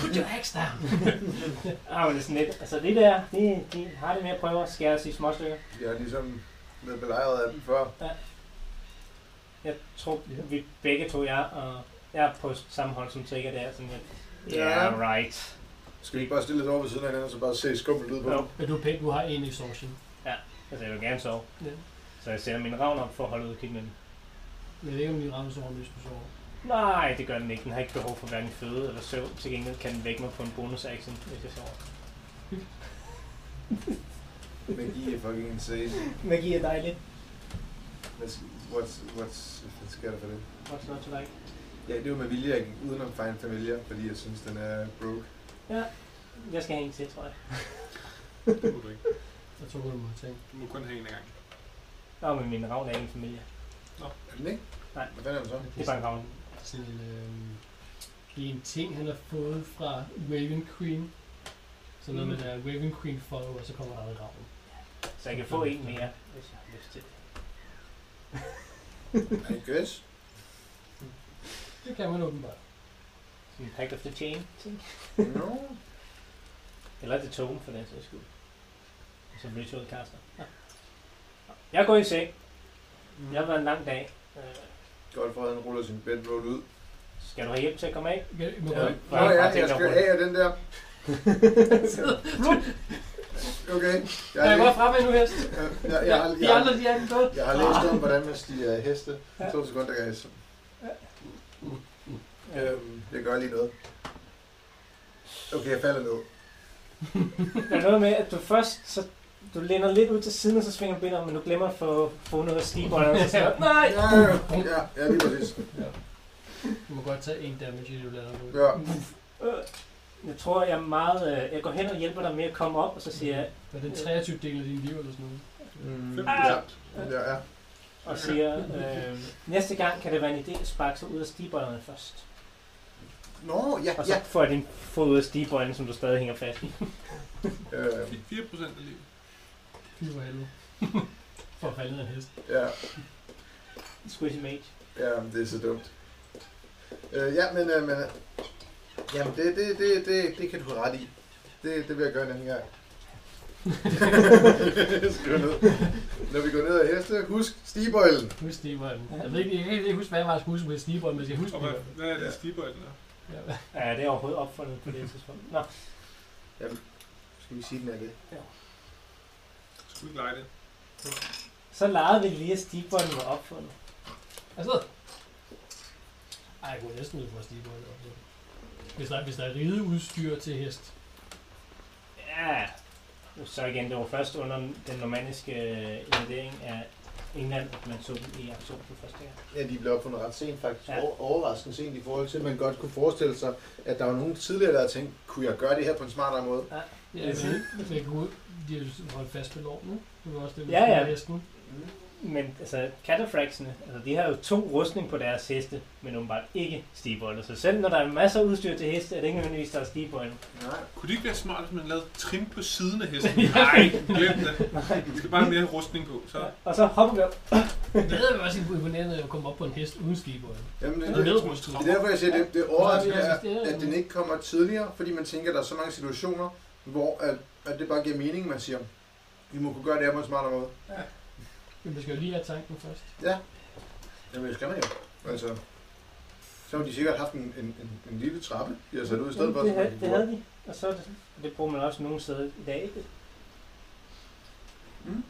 Speaker 2: Put your axe down.
Speaker 3: Ah, men det er sådan lidt. Altså det der, det, de har det med at prøve at skære os i små stykker.
Speaker 4: De har ligesom været belejret af dem før.
Speaker 3: Jeg tror, vi begge to, jeg og jeg er på samme hold som Trigger der. Sådan lidt.
Speaker 4: Ja.
Speaker 3: Yeah, right.
Speaker 4: Skal vi ikke bare stille lidt over ved siden af hinanden, og så bare se skummelt ud på
Speaker 3: Jo.
Speaker 4: dem?
Speaker 2: Men du er pæn, du har en exhaustion.
Speaker 3: Altså, jeg vil gerne sove.
Speaker 2: Ja.
Speaker 3: Så jeg sætter min ravn op for at holde udkig med den.
Speaker 2: Jeg ved ikke, om din ramme sover, hvis du sover.
Speaker 3: Nej, det gør den ikke. Den har ikke behov for hverken føde eller søvn. Til gengæld kan den vække mig på en bonus action, hvis jeg sover.
Speaker 4: Magi er fucking insane.
Speaker 3: Magi er dejligt.
Speaker 4: What's, what's, what's, hvad sker der for det?
Speaker 3: What's not to like?
Speaker 4: Ja, det var med vilje, jeg gik udenom Find Familiar, fordi jeg synes, den er broke.
Speaker 3: Jeg skal have en til, tror jeg.
Speaker 5: Det må du ikke.
Speaker 2: Jeg tror, du må have tænkt.
Speaker 5: Du må kun have en gang.
Speaker 2: Ah!
Speaker 3: Nå, men min ravn er ikke en familie.
Speaker 4: Er den ikke?
Speaker 3: Nej.
Speaker 4: Hvad fanden er den så?
Speaker 3: Det er bare en ravn.
Speaker 2: sådan en, øhm, det er en ting, han har fået fra Raven Queen. Så noget
Speaker 3: Mm.
Speaker 2: med, der er Raven Queen follow, og så kommer der en ravn.
Speaker 3: Så jeg kan få en mere, hvis jeg har lyst til. det.
Speaker 4: I guess.
Speaker 2: Det kan man åbenbart.
Speaker 3: Sådan en pack of the chain ting.
Speaker 4: No.
Speaker 3: Eller det token for den sags skyld. Altså, Som ritual caster. Ja. Jeg går i seng. Det har været en lang dag. Øh,
Speaker 4: Godfred, han ruller sin bedroll ud.
Speaker 3: Skal du have hjælp til at komme af?
Speaker 2: Okay, må
Speaker 3: Ja.
Speaker 2: jeg-
Speaker 4: Nå
Speaker 3: Nej,
Speaker 4: ja,
Speaker 3: bare tænker
Speaker 4: jeg skal
Speaker 3: rundt.
Speaker 4: af af den der. Okay. Jeg
Speaker 2: Kan
Speaker 4: har,
Speaker 2: jeg godt
Speaker 4: læst,
Speaker 2: fremme nu hest?
Speaker 4: jeg, jeg, jeg,
Speaker 2: De
Speaker 4: jeg,
Speaker 2: andre, Ah. de er den gået.
Speaker 4: jeg har læst om, hvordan man stiger af heste. To sekunder, guys. Øhm, jeg gør lige noget. Okay, jeg falder ned.
Speaker 3: Der er noget med, at du først, så du læner lidt ud til siden, og så svinger benet om, men du glemmer at få, få noget at stige på, og så siger, nej!
Speaker 4: Ja, ja, ja, ja lige præcis.
Speaker 2: Du må godt tage en damage, i du lader på.
Speaker 4: Ja.
Speaker 3: Øh, Jeg tror, jeg er meget... øh, Jeg går hen og hjælper dig med at komme op, og så siger jeg,
Speaker 2: Var det en 23 del af din liv eller sådan noget?
Speaker 4: Mm,
Speaker 3: Ah.
Speaker 4: ja. Ja, ja.
Speaker 3: og siger øh, næste gang kan det være en idé at sparke sig ud af stigbøjlerne først.
Speaker 4: Nå, ja,
Speaker 3: Og så
Speaker 4: ja.
Speaker 3: får jeg din fod ud af stigbøjlen, som du stadig hænger fast i.
Speaker 4: Øh,
Speaker 5: Fik 4% af livet.
Speaker 2: Fy for helvede. For at falde ned af en hest.
Speaker 4: ja,
Speaker 3: Squishy mage.
Speaker 4: ja, det er så dumt. Øh, ja, men, øh, men øh, jamen, det, det, det, det, det kan du have ret i. Det, det vil jeg gøre en anden gang. Skriv ned. Når vi går ned ad heste, husk stigbøjlen.
Speaker 2: Husk stigbøjlen. Jeg ved ikke, jeg kan ikke huske, hvad jeg var at huske med stigbøjlen, men jeg skal huske
Speaker 5: Og
Speaker 2: det.
Speaker 5: hvad, hvad er
Speaker 4: Ja.
Speaker 5: det, stigbøjlen er?
Speaker 2: Ja,
Speaker 3: Ja, det er overhovedet opfundet på det tidspunkt. Nå,
Speaker 4: Skal vi sige den af det?
Speaker 5: Skulle ikke lege det.
Speaker 3: så legede vi lige, at stigbøjlen var opfundet.
Speaker 2: Altså. Ej, jeg kunne næsten ud for stigbøjlen. Hvis der, hvis der er rideudstyr til hest.
Speaker 3: Ja, så igen, det var først under den normandiske øh, invadering af England, at man så dem i aktion for første gang.
Speaker 4: Ja, de blev opfundet ret sent faktisk.
Speaker 3: Ja.
Speaker 4: Ja. Overraskende sent i forhold til, at man godt kunne forestille sig, at der var nogen tidligere, der havde tænkt, kunne jeg gøre det her på en smartere måde?
Speaker 2: Ja, men det kunne de har jo holdt fast ved loven, ikke? Det var også det, vi
Speaker 3: Ja,
Speaker 2: skulle
Speaker 3: ja.
Speaker 2: med hesten.
Speaker 3: Men altså, cataphractsene, altså, de har jo to rustning på deres heste, men åbenbart ikke stigbøjler. Så selv når der er masser af udstyr til heste, er det ikke nødvendigvis, der er stigbøjler.
Speaker 4: Nej.
Speaker 5: Kunne det ikke være smart, hvis man lavede trim på siden af hesten?
Speaker 2: Ja.
Speaker 5: Nej, glem det. Vi skal bare have mere rustning på, så.
Speaker 3: Og så hopper vi op.
Speaker 2: Det havde været også imponerende at komme op på en hest uden stigbøjlen.
Speaker 4: Jamen,
Speaker 5: Det
Speaker 4: det,
Speaker 5: er
Speaker 4: det,
Speaker 5: lidt måske
Speaker 4: det er derfor, jeg siger, det, det overraskende
Speaker 2: Ja,
Speaker 4: er,
Speaker 2: det er det.
Speaker 4: at den ikke kommer tidligere, fordi man tænker, at der er så mange situationer, hvor at, at det bare giver mening, man siger, vi må kunne gøre det her på en smartere måde.
Speaker 2: Men vi skal jo lige have tanken først.
Speaker 4: Jamen, det skal man jo. Altså, så har de sikkert haft en, en, en, en lille trappe, de har sat ud i stedet for.
Speaker 3: det,
Speaker 4: så man
Speaker 3: havde,
Speaker 4: kan
Speaker 3: det
Speaker 4: gå
Speaker 3: havde de. Og så er det, det bruger man også nogle steder i dag, ikke?
Speaker 4: Mm.
Speaker 3: Men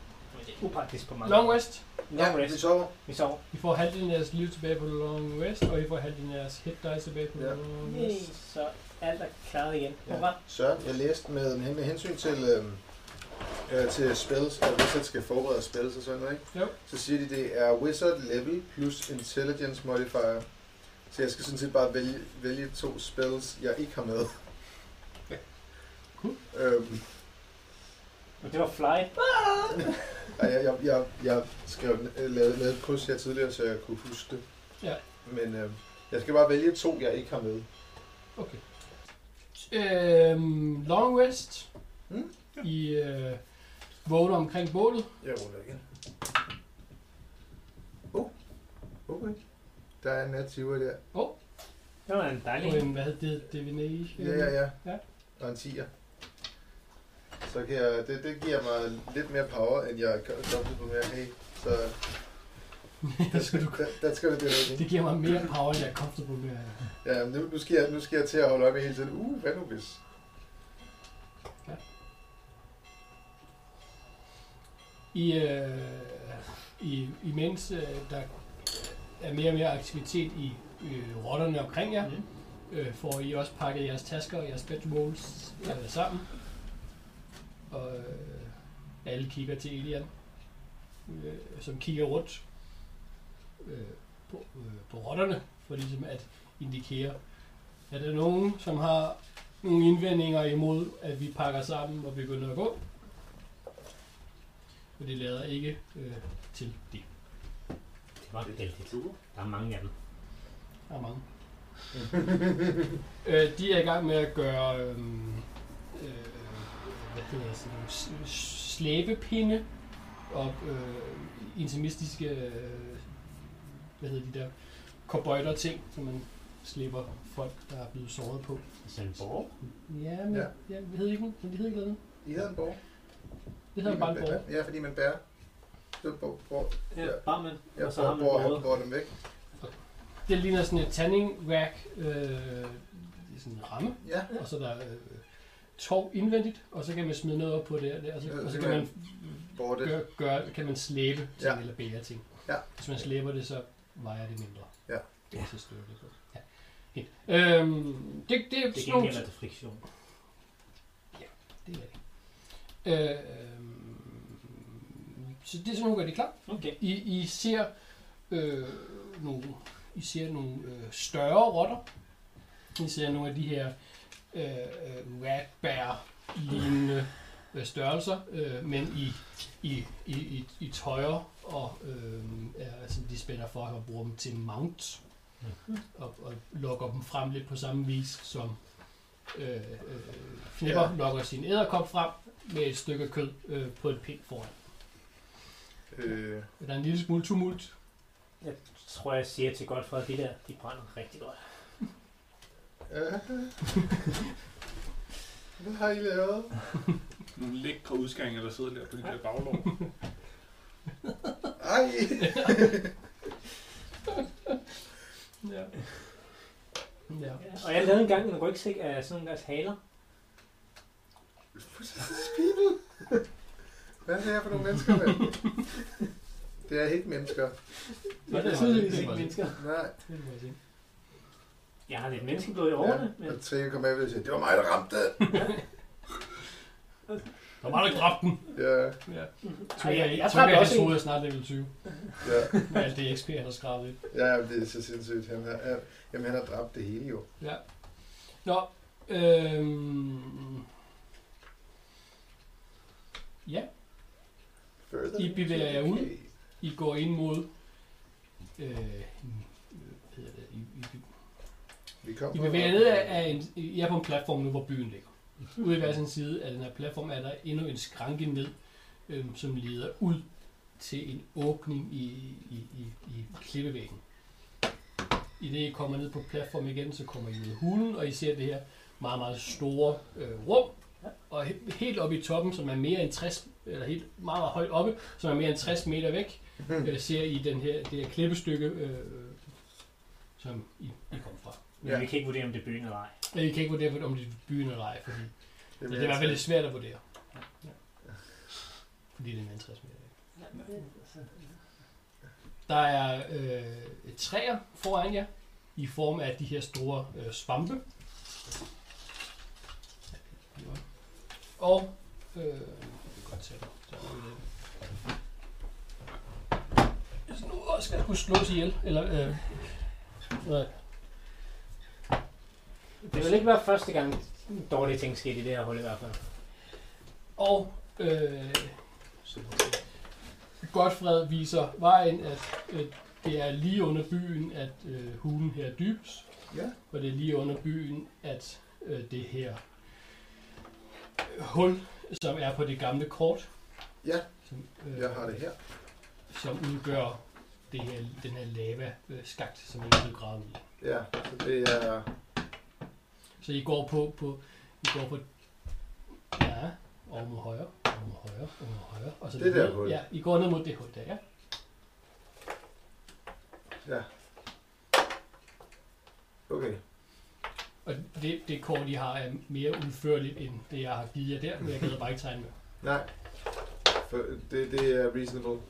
Speaker 3: det er upraktisk på mange.
Speaker 2: Long West.
Speaker 4: Ja,
Speaker 3: Long
Speaker 4: vi
Speaker 3: rest.
Speaker 4: sover.
Speaker 3: Vi sover.
Speaker 2: I får halvdelen af jeres liv tilbage på Long West, og I får halvdelen af jeres hit dice tilbage på
Speaker 4: Ja.
Speaker 2: Long
Speaker 3: Yay,
Speaker 2: West.
Speaker 3: så alt er klaret igen.
Speaker 4: Ja.
Speaker 3: Hurra.
Speaker 4: Søren, jeg læste med, med hensyn til, øh, øh, til spells, og wizard skal forberede spells og sådan noget, ikke?
Speaker 2: Jo.
Speaker 4: Så siger de, det er wizard level plus intelligence modifier. Så jeg skal sådan set bare vælge, vælge to spells, jeg ikke har med.
Speaker 2: Cool.
Speaker 4: Øhm,
Speaker 3: Og det var fly.
Speaker 4: ej, jeg, jeg, jeg, jeg skrev, den- øh, lavede, lavede et kryds her tidligere, så jeg kunne huske det.
Speaker 2: Ja.
Speaker 4: Men øh, jeg skal bare vælge to, jeg ikke har med.
Speaker 2: Okay. Øhm, Long West.
Speaker 4: Mm,
Speaker 5: ja.
Speaker 2: I øh, vågner omkring bålet.
Speaker 4: Jeg ruller igen. Oh. Okay. Der er en nativer der.
Speaker 3: Det var en
Speaker 2: Og
Speaker 3: dejlig en.
Speaker 2: en, hvad hedder det? Divination?
Speaker 4: Ja, ja, ja.
Speaker 2: Ja.
Speaker 4: Og en 10'er. Så kan jeg, det, det giver mig lidt mere power, end jeg kan komme på mere hey. Så
Speaker 2: det, skal du,
Speaker 4: that, that's gonna do it.
Speaker 2: det
Speaker 4: ikke?
Speaker 2: giver mig mere power, end jeg er comfortable med.
Speaker 4: Ja, nu, nu, skal jeg, nu skal jeg til at holde øje med hele tiden. Uh, hvad nu hvis?
Speaker 2: I, øh, i, imens øh, der er mere og mere aktivitet i øh, rotterne omkring jer,
Speaker 4: Mm.
Speaker 2: øh, får I også pakket jeres tasker og jeres bedrolls øh, sammen. Og øh, alle kigger til Elian, øh, som kigger rundt øh, på, øh, på rotterne, for ligesom at indikere, er der nogen, som har nogle indvendinger imod, at vi pakker sammen og begynder at gå? Og det lader ikke øh, til det.
Speaker 3: Det var heldigt.
Speaker 5: Super.
Speaker 3: Der er mange af dem.
Speaker 2: Der er mange. øh, de er i gang med at gøre øh, øh, hvad hedder sådan nogle s- s- slæbepinde og øh, intimistiske øh, hvad hedder de der kobøjter ting, som man slipper folk, der er blevet såret på.
Speaker 3: Sandborg?
Speaker 2: Ja, men
Speaker 4: Ja.
Speaker 2: ja. jeg ved ikke, men de hedder ikke noget.
Speaker 4: I havde en borg.
Speaker 2: Det hedder bare en borger.
Speaker 4: Ja, fordi man bærer. Så bor, bor,
Speaker 3: Ja,
Speaker 4: Ja.
Speaker 3: bare med.
Speaker 4: ja,
Speaker 3: og så har
Speaker 4: bor,
Speaker 3: man
Speaker 4: bor,
Speaker 3: bordet.
Speaker 4: han bor dem væk.
Speaker 2: Det ligner sådan et tanningværk. Øh, det er sådan en ramme,
Speaker 4: Ja,
Speaker 2: og så er der øh, tov indvendigt, og så kan man smide noget op på det og der, og så,
Speaker 4: Ja,
Speaker 2: og
Speaker 4: så
Speaker 2: så
Speaker 4: kan
Speaker 2: kan man,
Speaker 4: bor det.
Speaker 2: gøre, gøre, kan man slæbe ting
Speaker 4: Ja.
Speaker 2: ja. eller bære ting.
Speaker 4: Ja.
Speaker 2: Hvis man slæber det, så vejer det mindre.
Speaker 4: Ja.
Speaker 2: Det er så støtter det på. Ja. Fint. Øhm, det, det, er
Speaker 3: Det
Speaker 2: sådan nogle-
Speaker 3: gengæld er det friktion.
Speaker 2: Det er det. Øh, så det er sådan, hun gør det klar.
Speaker 3: Okay.
Speaker 2: I, I ser øh, nogle, I ser nogle øh, større rotter. I ser nogle af de her øh, øh, ratbær-lignende øh, størrelser, øh, men i, i, i, i, i tøjer, og øh, er- altså, de spænder for at bruge dem til mount, og, og lokker dem frem lidt på samme vis, som øh, øh, Knipper
Speaker 4: Ja.
Speaker 2: ja. lokker sin æderkop frem med et stykke kød øh, på et pind foran.
Speaker 4: Øh,
Speaker 2: Der er en lille smule tumult
Speaker 3: Jeg tror, jeg siger til godt for, at de der, de brænder rigtig godt.
Speaker 4: ja. Hvad har I lavet?
Speaker 5: Nogle lækre udskæringer, der sidder der på de der baglov.
Speaker 4: Ej!
Speaker 2: Ja. ja.
Speaker 3: Ja. Og jeg lavede engang en rygsæk af sådan deres haler.
Speaker 4: People! Hvad er det her for nogle mennesker, mand? Det er ikke mennesker.
Speaker 2: Nå, det
Speaker 3: Jeg
Speaker 2: er
Speaker 3: synes,
Speaker 2: det.
Speaker 3: det er
Speaker 2: Det er
Speaker 3: ikke mennesker.
Speaker 4: Nej.
Speaker 2: Det må jeg sige.
Speaker 3: Jeg har lidt menneskeblod i årene,
Speaker 4: Ja,
Speaker 3: men
Speaker 4: og Trine kom af og sagde, det var mig, der ramte det.
Speaker 2: Der var der dræbt den.
Speaker 4: Ja,
Speaker 2: Ja.
Speaker 3: Ej, jeg, jeg, jeg
Speaker 2: tror,
Speaker 3: brændte
Speaker 2: jeg
Speaker 3: også
Speaker 2: hans
Speaker 3: en.
Speaker 2: hoved er snart level 20.
Speaker 4: ja.
Speaker 2: Med alt det XP, han har skravet ind.
Speaker 4: Ja, det er så sindssygt. Han har, han, jamen, han har dræbt det hele jo.
Speaker 2: Ja. Nå, øhm,
Speaker 4: Further
Speaker 2: I bevæger jer ud.
Speaker 4: Okay.
Speaker 2: I går ind mod... Øh, hvad hedder det? I, I,
Speaker 4: Vi kom
Speaker 2: I
Speaker 4: fra-
Speaker 2: bevæger jer ned af, af en, I er på en platform nu, hvor byen ligger. Ude i hver sin side af den her platform er der endnu en skranke ned, øhm, som leder ud til en åbning i, i, i, i klippevæggen. I det I kommer ned på platformen igen, så kommer I ud af hulen, og I ser det her meget, meget store øh, rum. Og he- helt oppe i toppen, som er mere end 60, eller helt meget, meget højt oppe, som er mere end 60 meter væk, øh, ser I den her, det her klippestykke, øh, som I, I kom fra.
Speaker 3: Men
Speaker 4: Ja.
Speaker 3: vi kan ikke vurdere, om det er byen eller ej.
Speaker 2: Men I kan ikke vurdere, om det er byen eller ej, fordi
Speaker 4: Det
Speaker 2: det er i
Speaker 4: bliver
Speaker 2: hvert fald lidt
Speaker 4: altså-
Speaker 2: svært at vurdere. Ja. Fordi det er mere end 60 meter. væk. Der er øh, træer foran jer, i form af de her store øh, svampe. Og øh, jeg kan godt tage dem. Så er det lidt. Hvis nu også skal kunne slås ihjel, eller øh, øh,
Speaker 3: Det vil ikke være første gang, dårlige ting skete i det her hul i hvert fald.
Speaker 2: Og øh, Godfred viser vejen, at øh, det er lige under byen, at øh, hulen her er dybest.
Speaker 4: Ja.
Speaker 2: Og det er lige under byen, at øh, det her øh, hul, som er på det gamle kort.
Speaker 4: Ja.
Speaker 2: Som, øh,
Speaker 4: Jeg har det her.
Speaker 2: Som udgør det her, den her lava-skagt, som I er blevet gravet i.
Speaker 4: Ja, så det er...
Speaker 2: Så I går på, på, I går på, ja, over mod højre, over mod højre, over mod højre. Og så
Speaker 4: Det der
Speaker 2: ned.
Speaker 4: hul.
Speaker 2: Ja, I går ned mod det hul der, ja.
Speaker 4: Ja. Okay.
Speaker 2: Og det, det kort, I har, er mere udførligt, end det, jeg har givet jer der, men jeg gider bare ikke tegne med.
Speaker 4: Nej. For det, det er reasonable.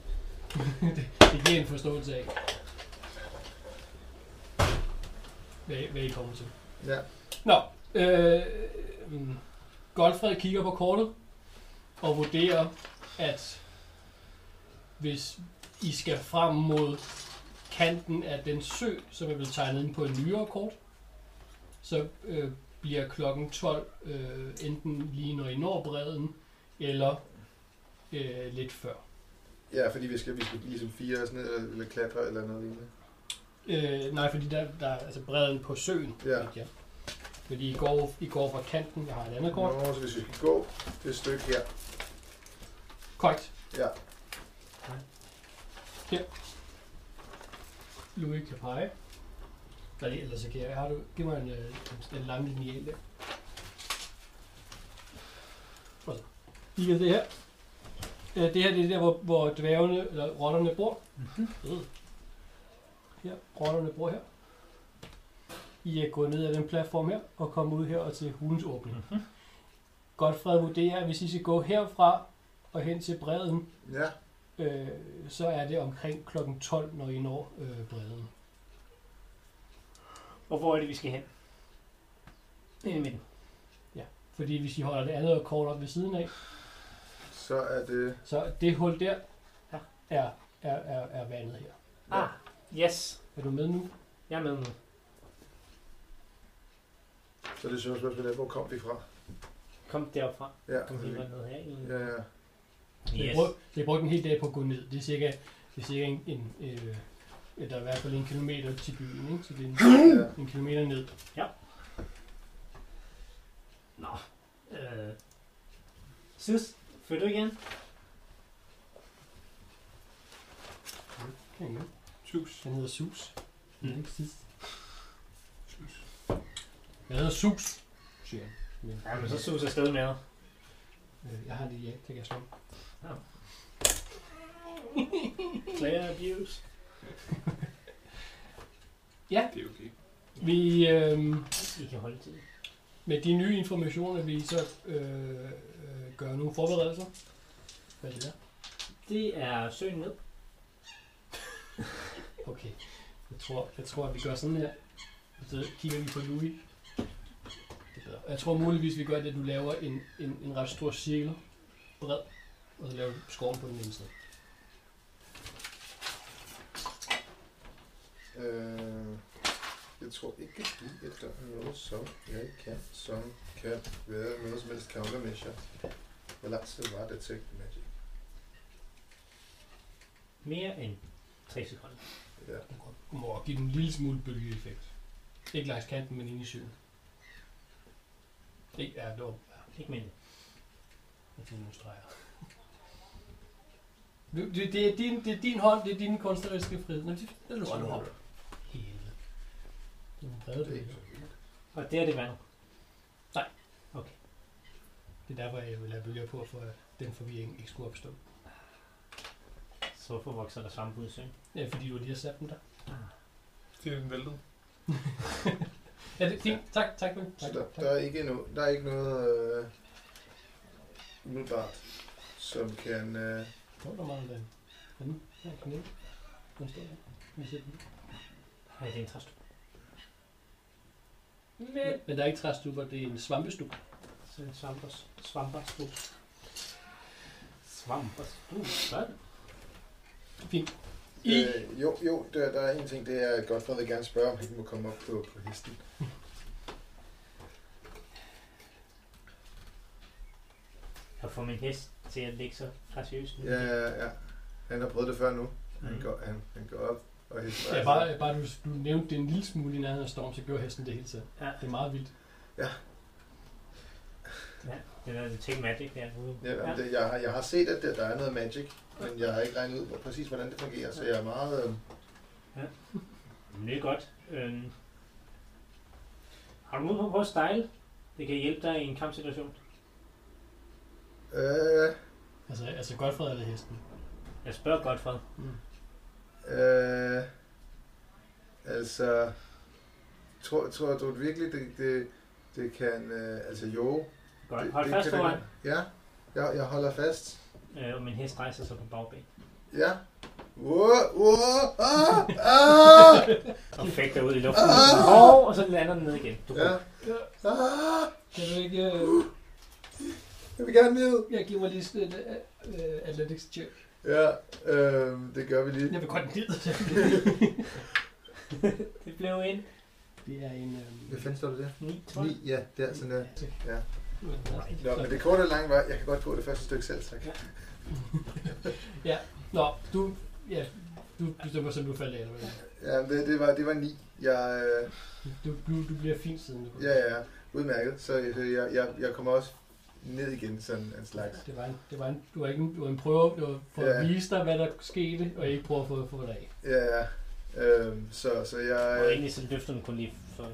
Speaker 2: Det giver en forståelse af, hvad, hvad I kommer til.
Speaker 4: Ja.
Speaker 2: Nå, øh, mm, Godfred kigger på kortet og vurderer, at hvis I skal frem mod kanten af den sø, som er blevet tegnet ind på en nyere kort, så øh, bliver klokken 12 øh, enten lige når I når bredden, eller øh, lidt før.
Speaker 4: Ja, fordi vi skal, vi skal ligesom fire os ned eller, eller klatre eller noget lignende.
Speaker 2: Øh, nej, fordi der, der er altså bredden på søen.
Speaker 4: Ja.
Speaker 2: ikke? ja. Fordi I går, I går fra kanten, jeg har et andet kort.
Speaker 4: Nå, så hvis vi skal gå det stykke her.
Speaker 2: Korrekt.
Speaker 4: Ja.
Speaker 2: Her. Louis kan pege. Der er det, ellers så kan jeg. Har du, giv mig en, øh, en, en lang lineal der. Og så. Lige det her. Øh, det her det er der, hvor, hvor dværgene, eller rotterne bor. Øh. Her, rotterne bor her. I er gået ned ad den platform her, og kommer ud her og til hulens åbning. Godfred vurderer, at hvis I skal gå herfra og hen til bredden,
Speaker 4: Ja.
Speaker 2: øh, så er det omkring kl. 12, når I når øh, bredden.
Speaker 3: Og hvor er det, vi skal hen? Ind i midten.
Speaker 2: Fordi hvis I holder det andet kort op ved siden af,
Speaker 4: Så er det...
Speaker 2: så det hul der
Speaker 3: Ja.
Speaker 2: er, er, er, er vandet her.
Speaker 3: Ah, yes.
Speaker 2: Er du med nu?
Speaker 3: Jeg er med nu.
Speaker 4: Så er det sjovt spørgsmål, er, hvor kom vi fra?
Speaker 3: Kom derfra.
Speaker 4: Ja.
Speaker 3: Kom lige ned her. i-
Speaker 4: Ja, ja.
Speaker 2: Så jeg,
Speaker 3: Yes.
Speaker 2: brugte, så jeg brugte en hel dag på at gå ned. Det er cirka, det er cirka en, en øh, ja, der er i hvert fald en kilometer til byen, ikke? så det er en,
Speaker 4: ja.
Speaker 2: en kilometer ned.
Speaker 3: Nå. Øh. Sus, følger du igen?
Speaker 2: Kan jeg ikke?
Speaker 5: Tus.
Speaker 2: Han hedder Sus. Mm.
Speaker 3: Mm.
Speaker 2: Ikke sidst.
Speaker 5: Tus.
Speaker 2: Jeg hedder Sus, siger han. Men,
Speaker 3: Ja, men så sus afsted med dig.
Speaker 2: øh, jeg har det ja, det kan jeg slå.
Speaker 3: Player abuse.
Speaker 5: Det er okay.
Speaker 2: Vi, øh,
Speaker 3: I kan holde til det.
Speaker 2: Med de nye informationer vil I så øh, øh, gøre nogle forberedelser. Hvad det er?
Speaker 3: Det er søen ned.
Speaker 2: Okay. Jeg tror, jeg tror, at vi gør sådan her. Og Så kigger vi på Louis. Det er bedre. Jeg tror muligvis, vi gør det, at du laver en, en, en ret stor cirkel bred, og så laver du skoven på den ene side.
Speaker 4: Øh, jeg tror ikke, at vi efter noget, som jeg kan, som kan være noget som helst countermeasure. Hvor lang tid var det til magic?
Speaker 3: Mere end 3 sekunder.
Speaker 4: Ja.
Speaker 2: Du må- Du må give den en lille smule bølgeeffekt. Ikke langs kanten, men inde i søen. Det er dog
Speaker 3: Ikke mindre.
Speaker 2: Jeg tog nogle streger. Du, du, det, er din, det er din hånd, det er din kunstneriske frihed. Nå, det det er du hånd op. Helvede. Det er en brede
Speaker 4: Det er
Speaker 2: bølge.
Speaker 4: ikke så vildt.
Speaker 3: Og det er det vand.
Speaker 2: Det er derfor, jeg vil have bølger på, for at den forvirring ikke skulle opstå.
Speaker 3: Så hvorfor vokser der svampe ud i søen?
Speaker 2: Ja, fordi du lige har sat dem der.
Speaker 5: Det er den væltet.
Speaker 2: Ja, det er fint. Tak, tak. Vel.
Speaker 4: Så
Speaker 2: tak,
Speaker 4: der,
Speaker 2: tak.
Speaker 4: der, er ikke no, der er ikke noget øh, umiddelbart, som kan... Øh,
Speaker 2: Hvor er der meget vand? Ja, nu. Ja, kom ned. Den står der. Vi ser den.
Speaker 3: Ej, det er en træstup.
Speaker 2: Men, men der er ikke træstuber, det er en svampestup.
Speaker 3: Så er det svampers. Svamperstup. Svamperstup. Sådan.
Speaker 2: Fint. I,
Speaker 4: øh, jo, jo der, der er en ting, det er, at Godfred vil gerne spørge, om han må komme op på, på hesten.
Speaker 3: Jeg får min hest til at ligge så graciøst.
Speaker 4: Ja, ja, ja. Han har prøvet det før nu. Han,
Speaker 3: Mm.
Speaker 4: går, han, han går op og hesten.
Speaker 2: ja, bare, bare du, du nævnte det en lille smule i nærheden af storm, så gjorde hesten det hele tiden.
Speaker 3: Ja.
Speaker 2: Det er meget vildt.
Speaker 3: Det er det take magic derude.
Speaker 4: Ja, ja. Det, jeg, har, jeg har set, at der, der er noget magic, men jeg har ikke regnet ud hvor- præcis, hvordan det fungerer, så jeg er meget... Øh,
Speaker 3: Men det er godt. Øhm. Har du mod på at prøve at style? Det kan hjælpe dig i en kampsituation.
Speaker 4: øh,
Speaker 2: Altså, altså Godfred eller hesten?
Speaker 3: Jeg spørger godt for.
Speaker 4: øh, altså... Tror, tror du virkelig, det, det, det kan... Øh, altså jo...
Speaker 3: Godt.
Speaker 4: det,
Speaker 3: Hold
Speaker 4: det
Speaker 3: fast
Speaker 4: kan det
Speaker 3: foran.
Speaker 4: godt. Ja, jeg, jeg holder fast.
Speaker 3: Øh, og min hest rejser sig på bagben.
Speaker 4: Ja. Wow, wow, ah, ah,
Speaker 3: Og fægter ud i luften. Hov, og så lander den ned igen. Du
Speaker 4: ja. Ah,
Speaker 2: Kan du ikke... øh,
Speaker 4: jeg vil gerne ned.
Speaker 2: Jeg giver mig lige sådan et uh, athletics check.
Speaker 4: Ja, øh, det gør vi lige.
Speaker 2: Jeg vil godt ned.
Speaker 3: Det blev en
Speaker 2: det er en... Um,
Speaker 4: Hvad fanden står det der?
Speaker 3: 9 12.
Speaker 4: 9, ja, der, sådan der. Ja. Nå, men
Speaker 2: Nå,
Speaker 4: det korte og lange var, jeg kan godt gå det første stykke selv, tak.
Speaker 2: Nå, du... Ja, du bestemmer selv, du falder af, eller hvad?
Speaker 4: Ja, det, det, var, det var 9. Jeg, øh,
Speaker 2: Du, du, du bliver fint siden. Du
Speaker 4: ja, ja, udmærket. Så øh, jeg, jeg, jeg kommer også ned igen, sådan en slags.
Speaker 2: Det var en, det var en, du var ikke en, du var en prøve det var for
Speaker 4: Ja.
Speaker 2: at vise dig, hvad der skete, og ikke prøve at få, få dig af.
Speaker 4: Ja, ja. Øhm, så, så
Speaker 3: Og
Speaker 4: jeg... Øh,
Speaker 3: egentlig så løfter den kun lige for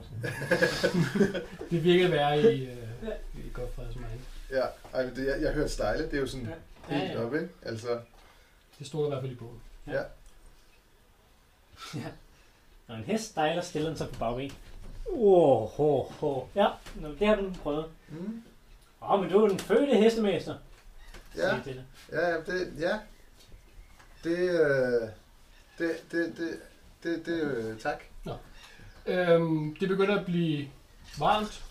Speaker 2: Det virker værre i, uh, i Godfreds mind.
Speaker 4: ja, ej, men det, jeg, jeg hørte stejle, det er jo sådan... helt
Speaker 2: Ja, ja.
Speaker 4: op, ikke? Altså,
Speaker 2: Det stod der i hvert fald i bogen.
Speaker 3: Når en hest stejler, stiller den sig på bagben. Åh, ho, ho. Ja, nå, det har du prøvet.
Speaker 4: mm,
Speaker 3: Åh, men du er den fødte hestemester.
Speaker 4: ja.
Speaker 3: siger jeg til dig.
Speaker 4: Ja, ja, det, ja. Det, øh, det, det, det, det, det, øh, tak.
Speaker 2: Øhm, det begynder at blive varmt.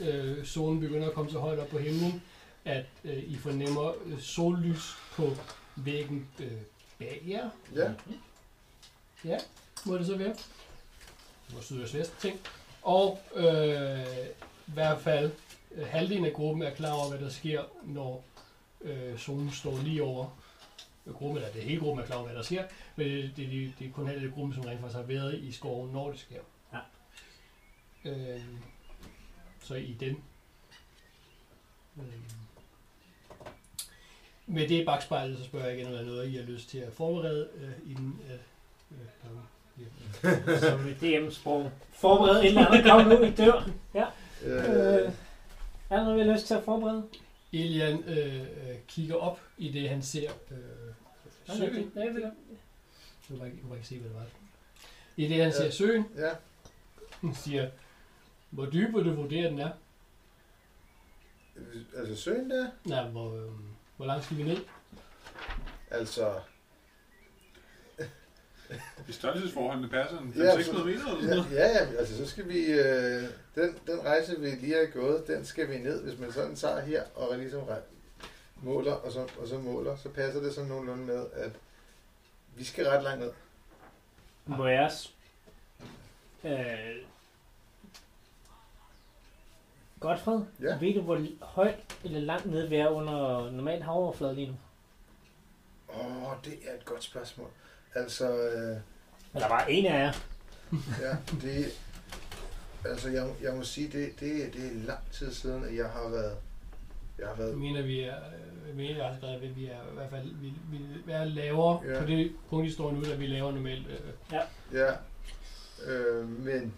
Speaker 2: Øh, solen begynder at komme så højt op på himlen, at øh, I fornemmer øh, sollys på væggen øh, bag jer.
Speaker 3: Mm.
Speaker 4: Ja,
Speaker 2: må det så være. Det var sydøst vest ting. Og øh, i hvert fald øh, halvdelen af gruppen er klar over, hvad der sker, når øh, solen står lige over øh, gruppen, eller det hele gruppen er klar over, hvad der sker, men det, det, det, det er kun halvdelen af gruppen, som rent faktisk har været i skoven, når det sker.
Speaker 3: Ja.
Speaker 2: Øh, så i den. Øh. Med det i bagspejlet, så spørger jeg igen, om der er noget, I har lyst til at forberede øh, inden at øh, der er
Speaker 3: Som i DM-sprog. Forbered et eller andet. Kom nu, I dør.
Speaker 4: øh,
Speaker 3: Øh, er der noget, vi har lyst til at forberede?
Speaker 2: Elian øh, øh, kigger op i det, han ser. Øh,
Speaker 3: Ja,
Speaker 2: søen.
Speaker 3: det er det.
Speaker 2: Du kan ikke, du kan ikke se, hvad det var. I det, han ser søen,
Speaker 4: ja.
Speaker 2: han siger, hvor dyb vil du vurdere, den er?
Speaker 4: Altså søen der,
Speaker 2: Nej, hvor, øh, hvor langt skal vi ned?
Speaker 4: altså,
Speaker 5: Hvis størrelsesforholdene passer, en
Speaker 4: Ja,
Speaker 5: 600 meter eller
Speaker 4: ja,
Speaker 5: sådan noget.
Speaker 4: ja, ja, altså så skal vi, øh, den, den rejse, vi lige har gået, den skal vi ned, hvis man sådan tager her og ligesom re- måler, og så, og så måler, så passer det sådan nogenlunde med, at vi skal ret langt ned.
Speaker 3: Må jeg s- øh, Godfred,
Speaker 4: Ja.
Speaker 3: ved du, hvor l- højt eller langt nede vi er under normal havoverflade lige nu?
Speaker 4: Åh, oh, det er et godt spørgsmål. Altså, øh,
Speaker 3: Eller bare en af jer.
Speaker 4: Ja, det... Altså, jeg, jeg må sige, det, det, det er lang tid siden, at jeg har været... Jeg har
Speaker 2: Jeg
Speaker 4: været...
Speaker 2: mener, vi er, øh, jeg mener, jeg har skrevet, at vi er i hvert fald vi, vi er lavere
Speaker 4: Ja.
Speaker 2: ja. på det punkt, I står nu, da vi laver normalt. Øh,
Speaker 4: Ja. Øh, men...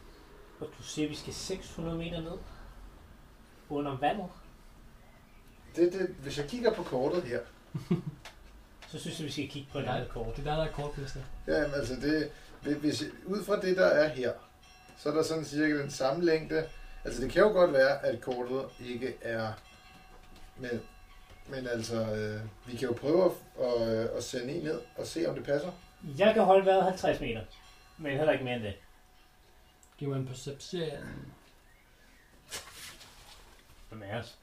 Speaker 3: Og du siger, at vi skal 600 meter ned under vandet.
Speaker 4: Det, det, hvis jeg kigger på kortet her...
Speaker 3: Så synes jeg, vi skal kigge på et
Speaker 2: Nej.
Speaker 3: andet kort.
Speaker 2: det er der, der er kortpister.
Speaker 4: Ja, jamen, altså, det... hvi- Hvis, ud fra det, der er her, så er der sådan cirka den samme længde. Altså, det kan jo godt være, at kortet ikke er... Men, men altså, øh, vi kan jo prøve at, at, øh, at sende en ned og se, om det passer.
Speaker 3: Jeg kan holde vejret 50 meter, men heller ikke mere end det.
Speaker 2: Giver man perception.
Speaker 3: Hvem er os?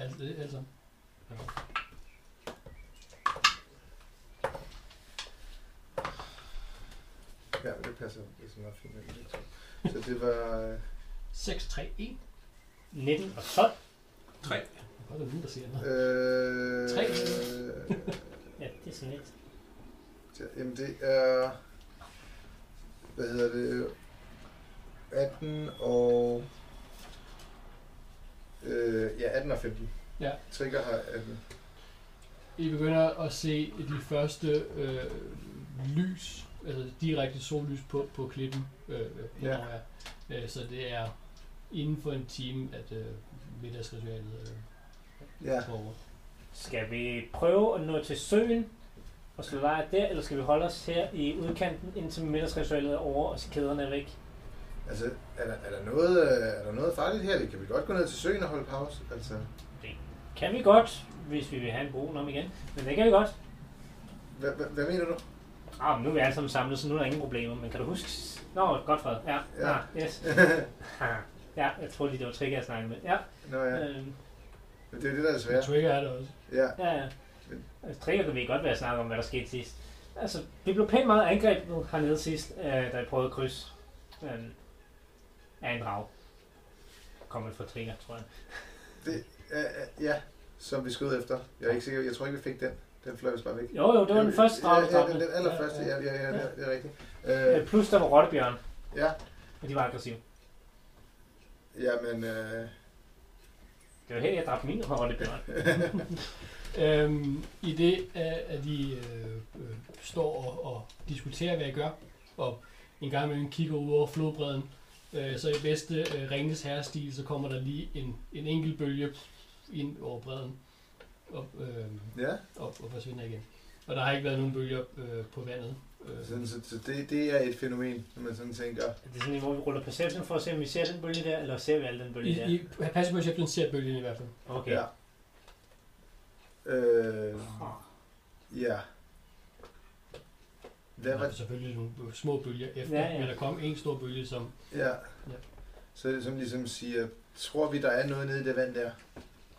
Speaker 2: Altså, det- altså.
Speaker 4: Ja, men det passer. Det er sådan meget fint. med det, så. Så det var... Øh,
Speaker 2: 6, 3, 1.
Speaker 3: 19 og 12.
Speaker 5: 3.
Speaker 2: Det er godt, at der er nogen, der siger noget.
Speaker 4: Øh,
Speaker 2: Tre.
Speaker 3: Ja, det er sådan lidt.
Speaker 4: jamen det er... Hvad hedder det? 18 og... Øh, ja, 18 og 15.
Speaker 2: Ja.
Speaker 4: Trigger har 18.
Speaker 2: I begynder at se de første øh, lys, altså direkte sollys på, på klippen. Øh,
Speaker 4: Ja.
Speaker 2: ja. øh, så det er inden for en time, at øh, middagsritualet øh,
Speaker 4: Ja.
Speaker 2: går over.
Speaker 3: Skal vi prøve at nå til søen og slå lejr der, eller skal vi holde os her i udkanten, indtil middagsritualet er over, og så kæderne er væk?
Speaker 4: Altså, er der, er, der noget, øh, er der noget farligt her? Det kan vi godt gå ned til søen og holde pause. Altså,
Speaker 3: Kan vi godt, hvis vi vil have en bro om igen. Men det kan vi godt.
Speaker 4: hvad, hvad, hvad mener du?
Speaker 3: Ah, men nu er vi alle sammen samlet, så nu er der ingen problemer. Men kan du huske? Nå, godt for Ja,
Speaker 4: Ja.
Speaker 3: ja. Ah, yes. Ah, ja, jeg tror lige, det var Trigger, jeg snakkede med. Ja,
Speaker 4: Nå ja,
Speaker 3: øhm,
Speaker 4: men det er jo det, der er
Speaker 2: Ja.
Speaker 4: svært.
Speaker 2: Trigger er der også.
Speaker 4: Ja,
Speaker 3: ja, ja. Altså, Trigger kan vi godt være snakke om, hvad der skete sidst. Altså, vi blev pænt meget angrebet hernede sidst, øh, da jeg prøvede at krydse øh, af en drag. Kommer fra Trigger, tror jeg.
Speaker 4: ja, ja, øh, ja, som vi skød efter. Jeg er ikke sikker, jeg tror ikke, vi fik den. Den fløj vist bare væk.
Speaker 3: Jo, jo, det var den første drag,
Speaker 4: Ja, ja, den, den allerførste, ja, ja, ja, ja, det er rigtigt. Øh,
Speaker 3: Øh, plus der var rottebjørn,
Speaker 4: ja,
Speaker 3: og de var aggressive.
Speaker 4: jamen, øh,
Speaker 3: Det var helt, jeg dræbte min rottebjørn.
Speaker 2: Øhm, I det, øh, at I øh, øh, står og, og diskuterer, hvad I gør, og en gang imellem kigger ud over flodbredden, øh, så i bedste øh, Ringens herrestil, så kommer der lige en, en enkelt bølge ind over bredden. op, øh,
Speaker 4: Ja,
Speaker 2: op og forsvinder igen. Og der har ikke været nogen bølger øh, på vandet. Øh,
Speaker 4: sådan, så, så det, det er et fænomen, når man sådan tænker.
Speaker 3: Er det sådan, hvor vi ruller perception for at se, om vi ser den bølge der, eller ser vi alle den
Speaker 2: I,
Speaker 3: bølge der?
Speaker 2: I, pas på, at jeg ser bølgen i hvert fald.
Speaker 3: Okay.
Speaker 4: Ja. Øh,
Speaker 3: Ah,
Speaker 4: ja. Hvad
Speaker 2: Der var
Speaker 4: var,
Speaker 2: selvfølgelig nogle små bølger efter,
Speaker 3: Ja,
Speaker 2: ja,
Speaker 3: ja.
Speaker 2: ja. men der kom en stor bølge, som...
Speaker 4: ja.
Speaker 2: Ja.
Speaker 4: Så er det som ligesom siger, tror vi, der er noget nede i det vand der?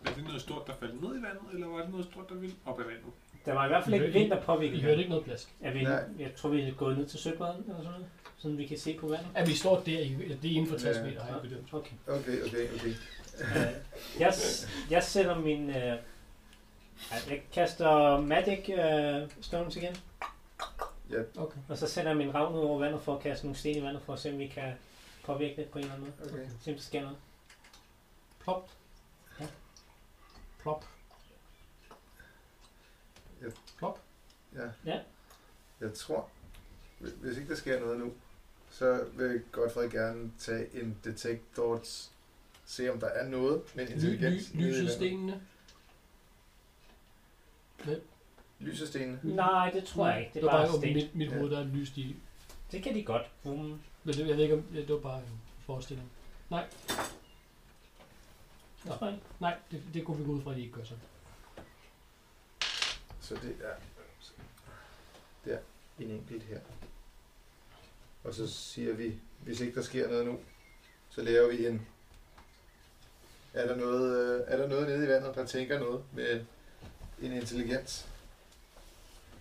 Speaker 5: Var det noget stort, der faldt ned i vandet, eller var det noget stort, der ville op i vandet?
Speaker 3: Der var i hvert fald ikke vind, der påvirkede
Speaker 2: Vi
Speaker 3: det.
Speaker 2: hørte ikke noget plask.
Speaker 3: Er vi,
Speaker 4: Nej.
Speaker 3: jeg tror, vi er gået ned til søbredden eller sådan noget, sådan vi kan se på vandet.
Speaker 2: At vi står der, i, det er inden for 60
Speaker 4: Ja.
Speaker 2: meter, har jeg bedømt.
Speaker 3: Okay.
Speaker 4: Okay, okay, okay.
Speaker 3: Øh, jeg, jeg sætter min... Øh, ej, jeg kaster Magic øh, Stones igen,
Speaker 2: Okay.
Speaker 3: og så sætter jeg min ravn ud over vandet for at kaste nogle sten i vandet, for at se, om vi kan påvirke det på en eller anden måde.
Speaker 4: okay.
Speaker 3: Se, om der sker noget.
Speaker 2: Plop.
Speaker 3: Ja.
Speaker 2: Plop.
Speaker 4: Ja.
Speaker 3: Ja.
Speaker 4: Jeg tror, hvi- hvis ikke der sker noget nu, så vil Godfred gerne tage en detect thoughts, se om der er noget med en
Speaker 2: Ly, ly,
Speaker 4: intelligens. nede i
Speaker 2: lyset
Speaker 4: vandet.
Speaker 2: stenene.
Speaker 4: Lyser stenene.
Speaker 3: Nej, det tror jeg ikke. Det
Speaker 2: Det
Speaker 3: er
Speaker 2: var
Speaker 3: bare
Speaker 2: bare, bare
Speaker 3: sten.
Speaker 2: mit, mit hoved, der er lyst i.
Speaker 3: Det kan de godt. Mm, Boom.
Speaker 2: Men det, jeg ved ikke, om det var bare en forestilling. Nej. Nå,
Speaker 3: Tror jeg ikke.
Speaker 2: nej, det, det kunne vi gå ud fra, at de ikke gør sådan.
Speaker 4: Så det er der en enkelt her. Og så siger vi, hvis ikke der sker noget nu, så laver vi en. Er der noget, øh, er der noget nede i vandet, der tænker noget med en intelligens?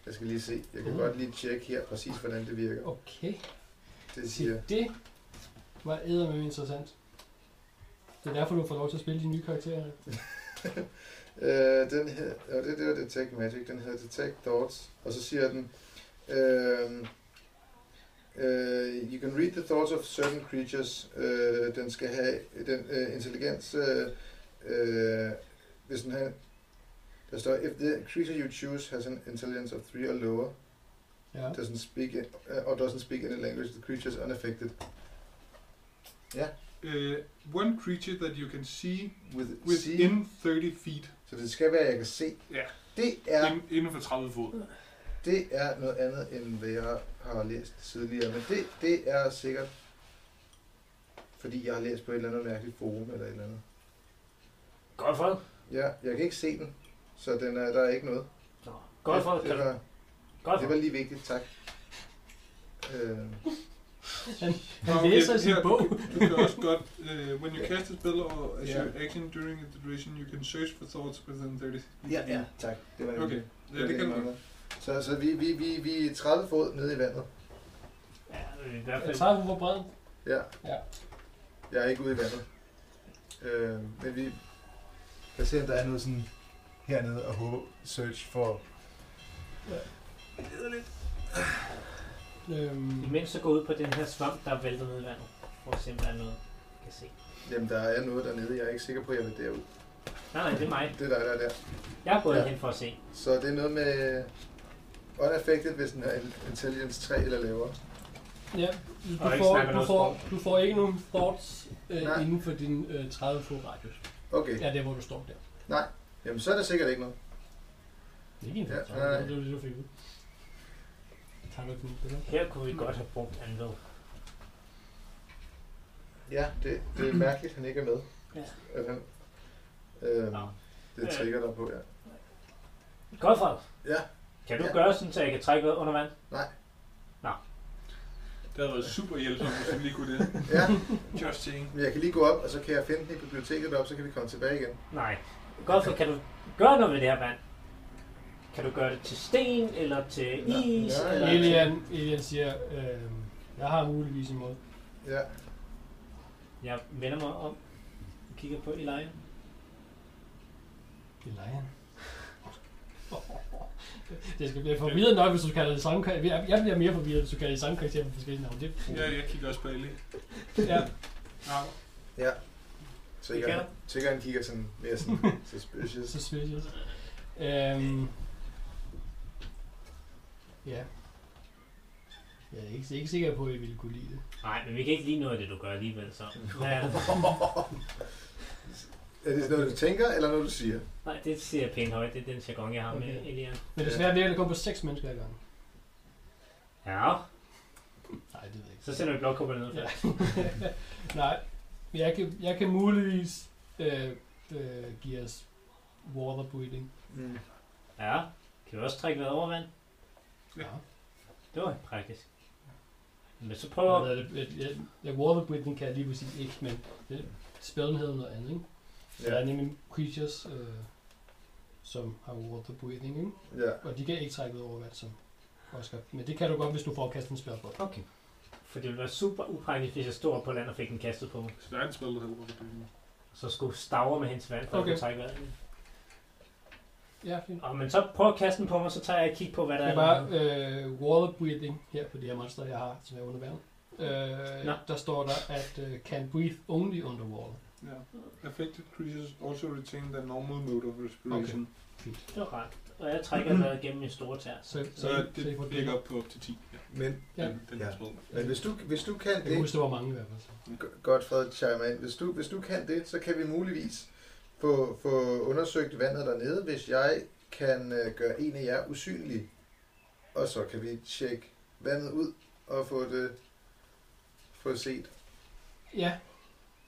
Speaker 4: Jeg skal lige se. Jeg kan
Speaker 2: Mm.
Speaker 4: godt lige tjekke her præcis, hvordan det virker.
Speaker 2: Okay.
Speaker 4: Det siger,
Speaker 2: Se, det var eddermame interessant. Det er derfor, du får lov til at spille de nye karakterer.
Speaker 4: øh, den her, og det der Detect Magic, den hedder Detect Thoughts, og så siger den, øh, øh, you can read the thoughts of certain creatures, øh, den skal have den øh, intelligens, øh, øh, hvis den har, der står, if the creature you choose has an intelligence of 3 or lower,
Speaker 2: Ja.
Speaker 4: doesn't speak, uh, or doesn't speak any language, the creature is unaffected
Speaker 5: Uh, one creature that you can see
Speaker 4: with,
Speaker 5: within
Speaker 4: seeing.
Speaker 5: 30 feet.
Speaker 4: Så det skal være, jeg kan se.
Speaker 5: Ja.
Speaker 4: Det er
Speaker 5: Ind, inden for 30 fod.
Speaker 4: Det er noget andet, end hvad jeg har læst tidligere, men det, det er sikkert, fordi jeg har læst på et eller andet mærkeligt forum eller et eller andet.
Speaker 3: Godt for det.
Speaker 4: Ja, jeg kan ikke se den, så den er, der er ikke noget.
Speaker 3: Nå, Godt for det.
Speaker 4: det,
Speaker 3: Kan du-
Speaker 4: var,
Speaker 3: Godt for
Speaker 4: det var lige vigtigt, tak. Øh,
Speaker 2: Han
Speaker 5: Okay,
Speaker 2: læser sin
Speaker 5: her-
Speaker 2: bog.
Speaker 5: Du kan også godt, uh, when you cast a spell or as
Speaker 4: Ja.
Speaker 5: your action during its duration, you can search for thoughts within 30 feet.
Speaker 4: ja, ja, tak. Det var nemlig-
Speaker 5: Okay,
Speaker 4: det,
Speaker 5: ja, det kan du godt.
Speaker 4: Så, så vi, vi, vi, vi er 30 fod nede i vandet.
Speaker 3: Ja, det er i hvert
Speaker 2: Jeg
Speaker 3: fald.
Speaker 2: tager den for bred.
Speaker 4: Ja.
Speaker 2: Ja.
Speaker 4: Jeg er ikke ude i vandet. Øh, men vi kan se, om der er noget sådan hernede og håbe search for...
Speaker 2: Øhm,
Speaker 3: Imens så gå ud på den her svamp, der er væltet ned i vandet, for at se, om der er noget, vi kan se.
Speaker 4: Jamen, der er noget dernede. Jeg er ikke sikker på, at jeg vil derud.
Speaker 3: Nej, nej, det er mig.
Speaker 4: Det er dig, der er der.
Speaker 3: Jeg er gået
Speaker 4: Ja.
Speaker 3: hen for at se.
Speaker 4: Så det er noget med unaffected, hvis den er intelligence 3 eller lavere.
Speaker 2: ja, du,
Speaker 3: Og ikke
Speaker 2: får,
Speaker 3: snakker
Speaker 2: du,
Speaker 3: noget
Speaker 2: får, du får ikke nogen thoughts
Speaker 4: Nej.
Speaker 2: øh, inden for din øh, 30 fod radius.
Speaker 4: Okay, ja.
Speaker 2: Ja, det er, hvor du står der.
Speaker 4: jamen så er der sikkert ikke noget.
Speaker 2: Det er ikke en
Speaker 4: Ja,
Speaker 2: ja,
Speaker 4: nej.
Speaker 2: det var det, du fik ud. Tager du ikke den? eller?
Speaker 3: Her kunne vi godt have brugt anved.
Speaker 4: Ja, det, det er mærkeligt, han ikke er med.
Speaker 3: Ja.
Speaker 4: At han, øhm,
Speaker 3: Nå.
Speaker 4: det trigger dig på, ja.
Speaker 3: Godt for
Speaker 4: Ja,
Speaker 3: Kan du
Speaker 4: Ja.
Speaker 3: gøre sådan, så jeg kan trække vejret under vand?
Speaker 5: Det havde været super hjælpsomt, hvis han lige kunne det.
Speaker 4: ja.
Speaker 5: Just saying.
Speaker 4: Men jeg kan lige gå op, og så kan jeg finde den i biblioteket op, så kan vi komme tilbage igen.
Speaker 3: Nej. Godt for, kan du gøre noget ved det her vand? Kan du gøre det til sten, eller til
Speaker 4: Ja.
Speaker 3: is,
Speaker 4: Ja, ja.
Speaker 3: eller til...
Speaker 2: Elian, Elian siger, øh, jeg har muligvis en måde.
Speaker 4: Ja,
Speaker 3: Jeg vender mig om og kigger på Elian.
Speaker 2: Elian. Det skal blive forvirret nok, hvis du kalder det samme karakter. Jeg- Jeg bliver mere forvirret, hvis du kalder det samme karakter på forskellige navne. Det,
Speaker 5: Ja, jeg kigger også på Ellie.
Speaker 2: ja.
Speaker 5: Nå,
Speaker 4: ja.
Speaker 3: Vi
Speaker 4: Sikkert,
Speaker 3: kan.
Speaker 4: sikkert han kigger sådan mere sådan suspicious.
Speaker 2: Så special. Øhm, ja. Jeg er ikke, ikke sikker på, at I ville kunne lide det.
Speaker 3: Nej, men vi kan ikke lide noget af det, du gør alligevel, så. Hvad er det?
Speaker 4: Er det noget, du tænker, eller noget, du siger?
Speaker 3: Nej, det siger jeg pænt højt. Det er den jargon, jeg har okay. med
Speaker 2: Okay.
Speaker 3: Elian.
Speaker 2: Men desværre virker det kun på seks mennesker ad gangen.
Speaker 3: Ja,
Speaker 2: Nej, det ved jeg ikke.
Speaker 3: så sender vi blokkupperne ned.
Speaker 2: Ja.
Speaker 3: Ja.
Speaker 2: Nej, jeg kan, jeg kan muligvis øh, øh, give os water breathing.
Speaker 4: Mm.
Speaker 3: ja. Kan vi også trække vejret over vand?
Speaker 5: Ja.
Speaker 3: Det var praktisk. Men så
Speaker 2: Jeg,
Speaker 3: prøver...
Speaker 2: ved, det, jeg, jeg, jeg water breathing kan jeg lige præcis ikke, men det, spillen hedder noget andet, ikke? Ja. Der er
Speaker 4: Ja.
Speaker 2: nemlig creatures, øh, som har water breathing, ikke?
Speaker 4: ja.
Speaker 2: Og de kan ikke trække ud over vand, som Oscar. Men det kan du godt, hvis du får kastet en spil på.
Speaker 3: Okay. For det ville være super upraktisk, hvis jeg stod op på land og fik den kastet på mig.
Speaker 5: Så der er et spil, der hedder Water Breathing.
Speaker 3: Så skulle stavre med hendes vand, for okay.
Speaker 2: Okay.
Speaker 3: at kunne trække vejret. ind.
Speaker 2: Ja, fint.
Speaker 3: Og men så prøv at kaste den på mig, så tager jeg et kig på, hvad der
Speaker 2: Det er
Speaker 3: er.
Speaker 2: bare
Speaker 3: dernede.
Speaker 2: øh, water breathing her på de her monster, jeg har, som er under vandet. Øh,
Speaker 3: Nå.
Speaker 2: der står der, at øh, can breathe only underwater.
Speaker 5: Ja. Affected creatures also retain their normal mode of respiration. Okay.
Speaker 3: Det var rart. Og jeg trækker vejret gennem min store tær.
Speaker 2: Så, så,
Speaker 5: Så
Speaker 2: så, så I får
Speaker 5: det ligger op på op til 10. Ja.
Speaker 4: Men,
Speaker 2: Ja.
Speaker 5: Den, den
Speaker 4: Ja.
Speaker 5: ja. spil.
Speaker 4: men hvis, du, hvis du kan
Speaker 2: Jeg kan
Speaker 4: det,
Speaker 2: huske, der var mange i hvert fald. Så.
Speaker 4: G- godt Fred chime ind, hvis du, hvis du kan det, så kan vi muligvis få, få undersøgt vandet dernede, hvis jeg kan øh, gøre en af jer usynlig. Og så kan vi tjekke vandet ud og få det få set.
Speaker 2: Ja.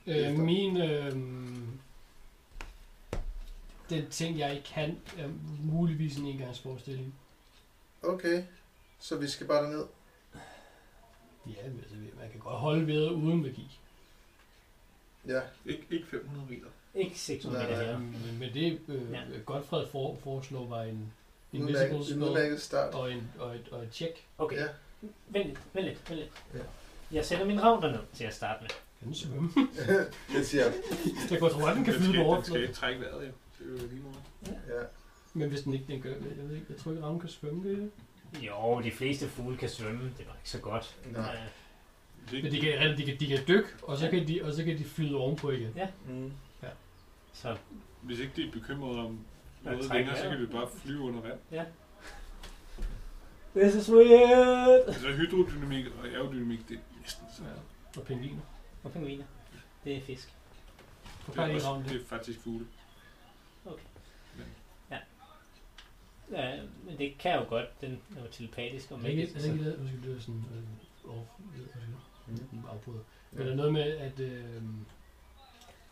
Speaker 2: Øh,
Speaker 4: Efter.
Speaker 2: min... Øh, den ting, jeg ikke kan, er muligvis en engangsforestilling.
Speaker 4: Okay, så vi skal bare derned.
Speaker 2: Ja, men altså, man kan godt holde ved uden magi.
Speaker 4: Ja,
Speaker 5: Ikke, ikke 500 meter.
Speaker 3: Ikke 600
Speaker 4: Nej,
Speaker 3: meter
Speaker 2: Ja,
Speaker 3: her.
Speaker 2: men, men det øh,
Speaker 3: Ja.
Speaker 2: ja. Godfred for, foreslår var en Oh, invisible
Speaker 4: udmærket, en
Speaker 2: spell
Speaker 4: udmærket start.
Speaker 2: og, en, og, et, og et check.
Speaker 3: Okay,
Speaker 4: Ja.
Speaker 3: vent lidt, vent lidt, vent lidt.
Speaker 4: Ja.
Speaker 3: Jeg sætter min ravn derned til at starte med.
Speaker 2: Kan den svømme?
Speaker 4: Jeg siger,
Speaker 2: Jeg kunne tro, at den kan flyde på
Speaker 5: over. Den skal
Speaker 2: overfladen.
Speaker 5: ikke trække vejret, jo. Det er jo lige meget.
Speaker 4: ja.
Speaker 2: Men hvis den ikke den gør, jeg ved ikke, jeg tror ikke, Ravn kan svømme det.
Speaker 3: Jo, de fleste fugle kan svømme. Det var ikke så godt.
Speaker 4: Nej.
Speaker 3: Øh,
Speaker 5: Hvis ikke,
Speaker 2: Men de kan, de kan, de kan dykke, og så kan de, og så kan de flyde ovenpå igen.
Speaker 4: Mm.
Speaker 3: Så
Speaker 5: hvis ikke de er bekymrede om noget
Speaker 3: trække
Speaker 5: længere, så
Speaker 3: vejret.
Speaker 5: kan vi bare flyve under vand.
Speaker 3: This is weird!
Speaker 5: Altså hydrodynamik og aerodynamik, det er næsten så.
Speaker 2: Ja. Og pingviner.
Speaker 3: Og pingviner. Det er fisk.
Speaker 2: Hvor
Speaker 5: Det, er
Speaker 2: kan de
Speaker 5: også,
Speaker 2: Ravn det?
Speaker 5: det er faktisk fugle.
Speaker 3: Ja, men det kan jeg jo godt. Den er jo telepatisk og
Speaker 2: Er det ikke, er
Speaker 3: magisk.
Speaker 2: det ikke lavet, undskyld, det er sådan, øh, off, øh, undskyld,
Speaker 4: Mm.
Speaker 2: nu afbryder. Men der er
Speaker 4: Ja.
Speaker 2: noget med, at øh,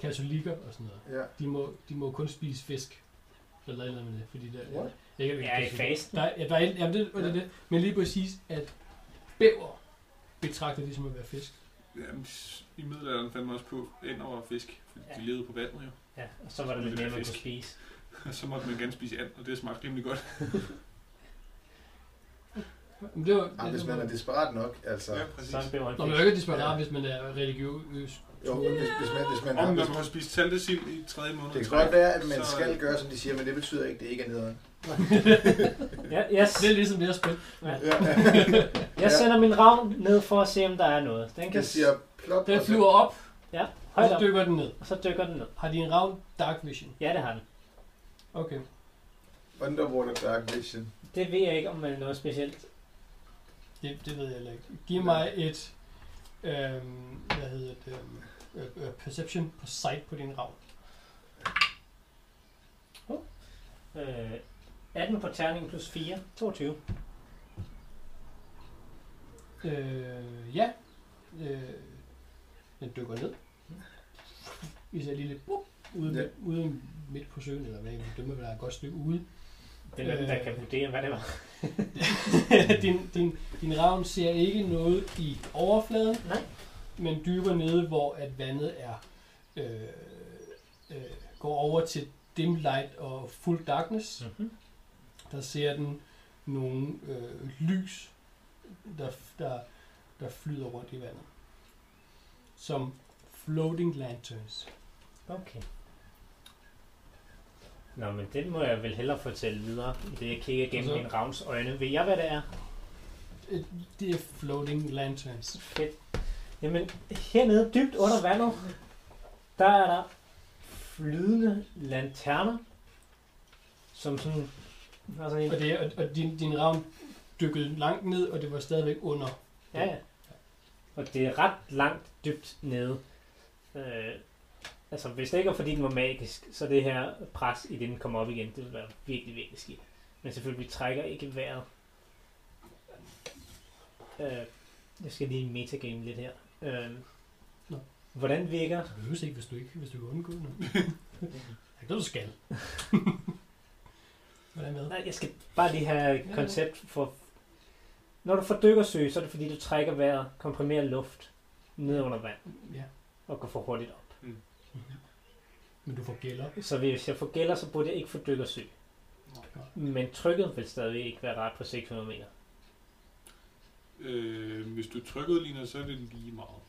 Speaker 2: katolikker og sådan noget,
Speaker 4: ja.
Speaker 2: de må, de må kun spise fisk. Eller noget med det, fordi der...
Speaker 4: What?
Speaker 2: Jeg kan,
Speaker 3: Ja, i
Speaker 2: det-
Speaker 3: fasten.
Speaker 2: Der, er- ja, der er, jamen det, ja. det, er det, men lige præcis, at bæver betragter de som at være fisk.
Speaker 5: Jamen, s- i middelalderen fandt man også på ænder og fisk, fordi
Speaker 3: Ja.
Speaker 5: de levede på vandet jo.
Speaker 3: Ja, og så var det lidt nemmere at kunne spise.
Speaker 5: Og så måtte man gerne spise and, og det smagte rimelig godt.
Speaker 2: Men det var,
Speaker 4: Jamen, hvis
Speaker 2: det
Speaker 4: man
Speaker 2: var,
Speaker 4: er desperat nok, altså.
Speaker 5: Ja, præcis.
Speaker 3: Så blev han
Speaker 2: Nå, man er jo ikke
Speaker 3: fisk.
Speaker 2: desperat,
Speaker 4: Ja.
Speaker 2: hvis man er religiøs.
Speaker 4: Jo, men hvis, hvis man, hvis man,
Speaker 5: Og
Speaker 4: har,
Speaker 5: man
Speaker 4: hvis,
Speaker 5: må have spist saltesild i tredje måned.
Speaker 4: det
Speaker 5: i
Speaker 4: kan
Speaker 5: træk,
Speaker 4: godt være, at man
Speaker 5: så-
Speaker 4: skal gøre, som de siger, men det betyder ikke, at det ikke er nederen.
Speaker 3: Ja, yes.
Speaker 2: Det er ligesom det at spille.
Speaker 4: Ja.
Speaker 3: Jeg sender min ravn ned for at se, om der er noget. Den kan
Speaker 4: Jeg siger plop,
Speaker 2: Den
Speaker 4: og så-
Speaker 2: flyver op, og
Speaker 3: højt
Speaker 2: så
Speaker 3: op,
Speaker 2: dykker den ned.
Speaker 3: og så dykker den ned.
Speaker 2: Har de en ravn dark vision?
Speaker 3: Ja, det har den.
Speaker 2: Okay.
Speaker 4: Underwater Dark Vision.
Speaker 3: Det ved jeg ikke, om man er noget specielt.
Speaker 2: Det, det ved jeg heller ikke. Giv mig et, øhm, hvad hedder det, øhm, øh, øh, perception på sight på din ravn.
Speaker 3: Øh, 18 på terningen plus 4. 22.
Speaker 2: Øh, ja. Øh, den dykker ned. Vi ser lige lidt bup, ude, ja.
Speaker 4: Ja.
Speaker 2: ude midt på søen, eller hvad jeg dømmer, der er et godt stykke ude.
Speaker 3: Det er den, der
Speaker 2: Øh.
Speaker 3: kan vurdere, hvad det var.
Speaker 2: din, din, din ravn ser ikke noget i overfladen,
Speaker 3: Nej.
Speaker 2: men dybere nede, hvor at vandet er øh, øh, går over til dim light og full darkness.
Speaker 3: Mm-hmm.
Speaker 2: der ser den nogle øh, lys, der, der, der flyder rundt i vandet. Som floating lanterns.
Speaker 3: Okay. Nå, men den må jeg vel hellere fortælle videre, i det jeg kigger gennem
Speaker 2: Og så-
Speaker 3: min ravns øjne. Ved jeg, hvad det er?
Speaker 2: Øh, Det er floating lanterns.
Speaker 3: Fedt. Jamen, hernede dybt under vandet, der er der flydende lanterner, som sådan... Har sådan en,
Speaker 2: Og, det, er- og, og din, din ravn dykkede langt ned, og det var stadigvæk under.
Speaker 3: ja, ja. Og det er ret langt dybt nede. Øh, Altså, hvis det ikke var fordi, den var magisk, så det her pres i det, den kommer op igen, det ville være virkelig, virkelig skidt. Men selvfølgelig, vi trækker ikke vejret. Øh, jeg skal lige metagame lidt her. Øh,
Speaker 2: Nå.
Speaker 3: hvordan virker...
Speaker 2: Du behøver ikke, hvis du ikke hvis du kan undgå noget. Det er ikke noget, du skal. Hvordan med?
Speaker 3: Nej, jeg skal bare lige have et
Speaker 2: Ja.
Speaker 3: koncept for... Når du får dykkersøg, så er det fordi, du trækker vejret, komprimerer luft ned under vand
Speaker 2: Ja.
Speaker 3: og går for hurtigt op.
Speaker 2: Men du får gælder.
Speaker 3: Så hvis jeg får gælder, så burde jeg ikke få dykkersøg. Men trykket vil stadig ikke være ret på 600 meter.
Speaker 5: Øh, hvis du trykkede lige nu, så er det lige meget.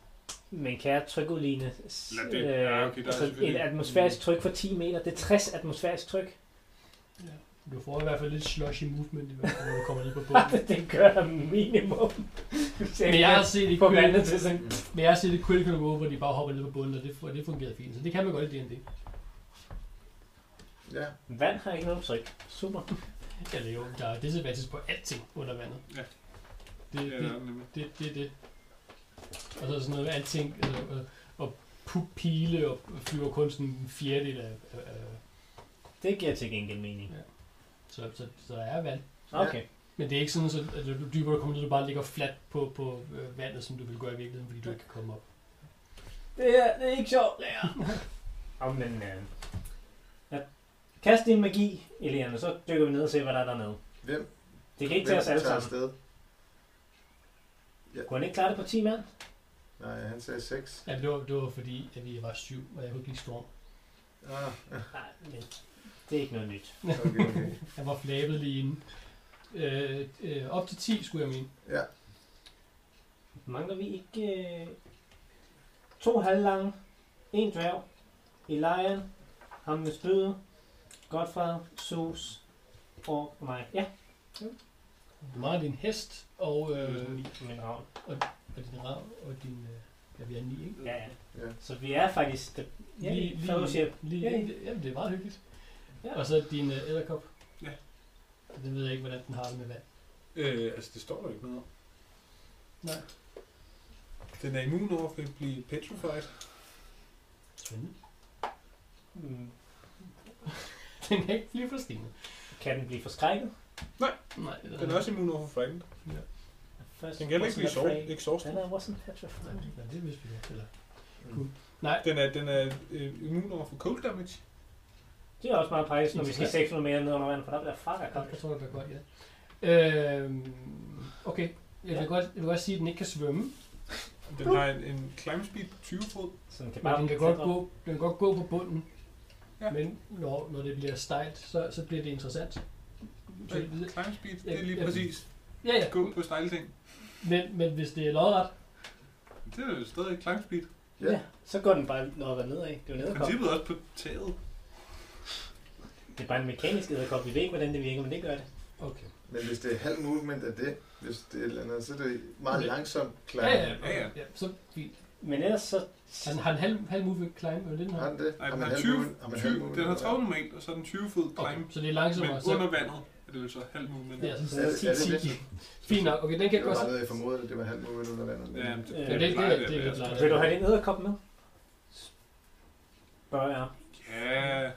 Speaker 3: Men kan jeg trykudligne s-
Speaker 5: Lad det- ja, okay, der er
Speaker 3: altså et
Speaker 5: selvfølgelig-
Speaker 3: atmosfærisk tryk for 10 meter? Det er 60 atmosfærisk tryk.
Speaker 2: Ja. Du får i hvert fald lidt slushy movement, i hvert fald, når du kommer ned på bunden.
Speaker 3: det gør jeg minimum. Hvis
Speaker 2: Men jeg har set i
Speaker 3: på vandet
Speaker 2: Critical,
Speaker 3: til sådan...
Speaker 4: Mm.
Speaker 2: men jeg har set i Critical Role, hvor de bare hopper ned på bunden, og det, og det fungerede fint. Så det kan man godt i D&D.
Speaker 4: Ja.
Speaker 3: Vand har ikke noget tryk. Super.
Speaker 2: Eller jo, der er disadvantage på alting under vandet.
Speaker 5: Ja.
Speaker 2: Det,
Speaker 5: Ja,
Speaker 2: det,
Speaker 5: nemlig.
Speaker 2: Det, det er det. Og så er sådan noget med alting, altså, øh, og pu- pile og flyver kun sådan en fjerdedel af, af, af
Speaker 3: Det giver til gengæld mening.
Speaker 2: så, så, så der er vand.
Speaker 3: Okay.
Speaker 2: Men det er ikke sådan, så, at du dybere kommer ned, du bare ligger fladt på, på øh, vandet, som du vil gøre i virkeligheden, fordi du ikke kan komme op.
Speaker 3: Det er, det er ikke sjovt, lærer. Om men, øh, ja. Kast din magi, Elian, og så dykker vi ned og ser, hvad der er dernede.
Speaker 4: Hvem?
Speaker 3: Det kan ikke tage os alle
Speaker 4: tager
Speaker 3: sammen.
Speaker 4: afsted?
Speaker 3: Kunne han ikke klare det på 10 mand?
Speaker 4: Nej, han sagde 6.
Speaker 2: Ja, men det var, det var fordi, at vi var syv, og jeg kunne ikke lide Storm.
Speaker 4: Ah,
Speaker 3: Nej, men det er ikke noget nyt.
Speaker 4: okay, okay.
Speaker 2: Jeg var flabet lige inden. Øh, øh, op til 10, skulle jeg mene.
Speaker 4: Ja,
Speaker 3: Mangler vi ikke øh, to halvlange, en dværg, Elian, ham med spydet, Godfred, Sus og mig. Ja,
Speaker 2: Meget din hest, og, øh,
Speaker 3: min ravn.
Speaker 2: og din rav, og din... Øh, ja, vi er ni, ikke?
Speaker 3: Ja, ja.
Speaker 4: ja.
Speaker 3: Så vi er faktisk... Det, ja,
Speaker 2: lige,
Speaker 3: lige, lige,
Speaker 2: lige,
Speaker 3: siger,
Speaker 2: lige,
Speaker 3: Ja.
Speaker 2: lige, jamen, det er meget hyggeligt.
Speaker 3: Ja.
Speaker 2: Ja. Og så din øh, æderkop.
Speaker 5: Ja.
Speaker 2: Den ved jeg ikke, hvordan den har det med vand.
Speaker 5: Øh, altså, det står der ikke noget om.
Speaker 2: Nej.
Speaker 5: Den er immun over for at blive petrified.
Speaker 2: Spændende.
Speaker 3: mm,
Speaker 2: Den kan ikke blive forstenet.
Speaker 3: kan den blive forskrækket?
Speaker 2: Nej, det
Speaker 5: Den er også immun over for frightened.
Speaker 3: First
Speaker 5: Den kan heller
Speaker 3: person
Speaker 5: ikke blive
Speaker 3: afraid.
Speaker 5: sort, ikke sorst.
Speaker 3: Den er wasn't petrified.
Speaker 2: Nej, nej, det vidste vi ikke. Eller.
Speaker 4: Mm.
Speaker 5: Den er, den er øh, immun over for cold damage.
Speaker 3: Det er også meget praktisk, når vi skal 600 meter ned under vandet, for der bliver fucker
Speaker 2: Godt,
Speaker 3: koldt.
Speaker 2: jeg tror, det bliver godt, ja. Øhm, okay, jeg vil,
Speaker 3: Ja.
Speaker 2: godt, jeg vil godt sige, at den ikke kan svømme,
Speaker 5: Den har en, en climb speed på 20 fod.
Speaker 3: Så den kan
Speaker 2: men
Speaker 3: bare
Speaker 2: den kan, godt gå, den kan godt gå på bunden.
Speaker 5: Ja.
Speaker 2: Ja. Men når, når det bliver stejlt, så, så bliver det interessant. Så,
Speaker 5: Øh, Climb speed, det er lige
Speaker 2: Ja, ja.
Speaker 5: præcis.
Speaker 2: ja, ja.
Speaker 5: Gå på stejle ting.
Speaker 2: Men, men hvis det er lodret,
Speaker 5: Det er jo stadig climb speed.
Speaker 4: Ja.
Speaker 3: Ja, så går den bare noget nedad. Det er jo
Speaker 5: I
Speaker 3: nederkop.
Speaker 5: princippet også på taget.
Speaker 3: Det er bare en mekanisk edderkop. Vi ved ikke, hvordan det virker, men det gør det.
Speaker 2: okay.
Speaker 4: Men hvis det er halv movement af det, hvis det er et eller andet, så er det meget
Speaker 2: Okay.
Speaker 4: langsomt klar.
Speaker 2: Ja, ja,
Speaker 5: Ja, ja.
Speaker 2: ja. ja så fint.
Speaker 3: Men ellers så...
Speaker 2: Han har en halv, halv move climb, eller det den
Speaker 4: Har
Speaker 2: har?
Speaker 4: den det?
Speaker 5: Nej,
Speaker 4: Har
Speaker 5: den
Speaker 4: man
Speaker 5: har
Speaker 4: halv
Speaker 5: 20,
Speaker 4: movement? Har man halv
Speaker 5: 20
Speaker 4: movement?
Speaker 5: den har 30 normalt, og så er den 20 fod climb.
Speaker 2: Okay, så det er
Speaker 5: Men
Speaker 2: langsommere.
Speaker 5: under
Speaker 2: Så,
Speaker 5: vandet er det jo så halv movement.
Speaker 2: ja, så,
Speaker 4: Er det-
Speaker 2: så,
Speaker 4: er det
Speaker 2: så 10,
Speaker 4: det?
Speaker 2: 10. Fint nok. Okay, den kan jeg
Speaker 4: Det var
Speaker 2: godt...
Speaker 4: bare noget, jeg formodede, at det var halv movement under vandet.
Speaker 5: Ja, men
Speaker 3: Ja,
Speaker 5: det,
Speaker 2: det-
Speaker 5: plejer
Speaker 2: det-
Speaker 5: at
Speaker 2: det-
Speaker 5: være.
Speaker 2: det-
Speaker 3: Vil du have din edderkop med? Spørger jeg.
Speaker 5: Ja,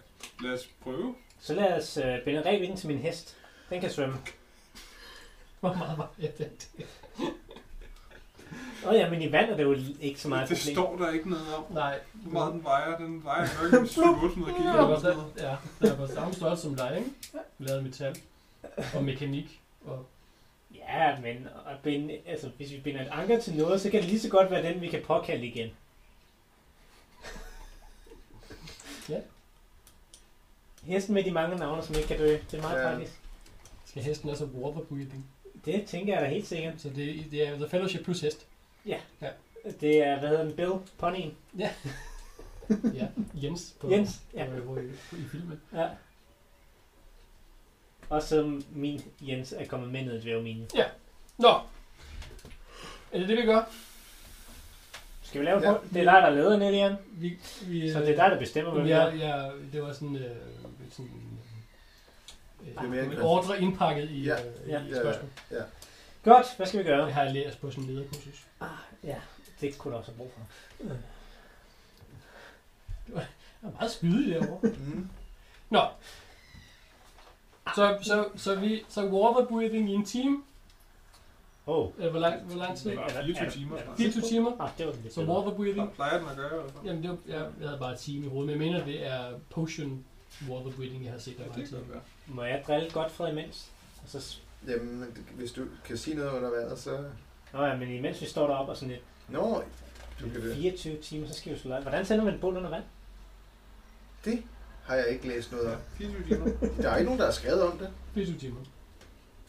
Speaker 5: lad os prøve.
Speaker 3: Så lad os øh, binde rev ind til min hest. Den kan svømme.
Speaker 2: Hvor meget var jeg det?
Speaker 3: Åh ja, men i vand er det jo ikke så meget et
Speaker 5: Det
Speaker 3: problem.
Speaker 5: står der ikke noget om.
Speaker 2: Nej.
Speaker 5: Hvor meget den vejer, den vejer nok 700 kilo
Speaker 2: Det
Speaker 5: eller
Speaker 2: var,
Speaker 5: sådan noget.
Speaker 2: ja, det var på samme størrelse som dig, ikke? Lavet metal og mekanik. Og,
Speaker 3: Ja, men at binde, altså, hvis vi binder et anker til noget, så kan det lige så godt være den, vi kan påkalde igen.
Speaker 2: Ja.
Speaker 3: Hesten med de mange navne, som ikke kan dø. Det er meget
Speaker 4: Ja.
Speaker 3: ja. praktisk.
Speaker 2: skal hesten også have warper breathing?
Speaker 3: Det tænker jeg da helt sikkert.
Speaker 2: Så det, det er The Fellowship plus hest.
Speaker 3: Det er, hvad hedder den, Bill? Ponyen?
Speaker 2: Ja, Jens. På,
Speaker 3: Jens?
Speaker 2: Ja.
Speaker 3: Ja.
Speaker 2: På, på, på, I filmen.
Speaker 3: ja. Og så min Jens er kommet med ned i dværgminen.
Speaker 2: Nå! Er det det, vi gør?
Speaker 3: Skal vi lave
Speaker 4: Ja.
Speaker 3: ja. Det er dig, der leder, Nelian.
Speaker 2: Vi, vi, øh,
Speaker 3: Så det er dig, der bestemmer, hvad vi
Speaker 2: Ja,
Speaker 3: gør.
Speaker 2: ja, det var sådan, øh, sådan øh,
Speaker 4: er mere
Speaker 2: en
Speaker 4: en
Speaker 2: ordre indpakket i,
Speaker 4: Ja,
Speaker 2: øh,
Speaker 3: ja.
Speaker 2: i spørgsmålet.
Speaker 3: Godt, hvad skal vi gøre?
Speaker 2: Det har jeg lært på sådan en lederkursus.
Speaker 3: Ah, ja, det kunne du også have brug for.
Speaker 2: Jeg er meget spydig derovre.
Speaker 5: Mm.
Speaker 2: så, så, så, vi, så water breathing i en time.
Speaker 3: Åh,
Speaker 2: Øh, hvor, lang, hvor lang tid?
Speaker 5: Det var
Speaker 3: er der-
Speaker 5: 24
Speaker 3: er der-
Speaker 5: timer.
Speaker 3: er der-
Speaker 2: 24 timer.
Speaker 3: Ah, det var lidt
Speaker 2: Så
Speaker 3: bedre.
Speaker 2: water breathing.
Speaker 5: Hvad plejer den at gøre? Eller? hvad?
Speaker 2: Jamen, det var, jeg, jeg havde bare et time i hovedet, men jeg mener, det er potion water breathing, jeg har set der
Speaker 5: Ja,
Speaker 2: var
Speaker 5: det
Speaker 2: tid.
Speaker 5: kan godt være.
Speaker 3: Må jeg drille godt Fred imens? Og så... s-
Speaker 4: Jamen, det- hvis du kan sige noget under vandet, så...
Speaker 3: Nå ja, men imens vi står deroppe og sådan lidt
Speaker 4: Nå, du kan det.
Speaker 3: 24 timer, så skal vi slå Hvordan sender man en bål under vand?
Speaker 4: Det har jeg ikke læst noget
Speaker 5: Ja,
Speaker 4: om.
Speaker 5: 24 timer.
Speaker 4: Der er ikke nogen, der har skrevet om det.
Speaker 2: 24 timer.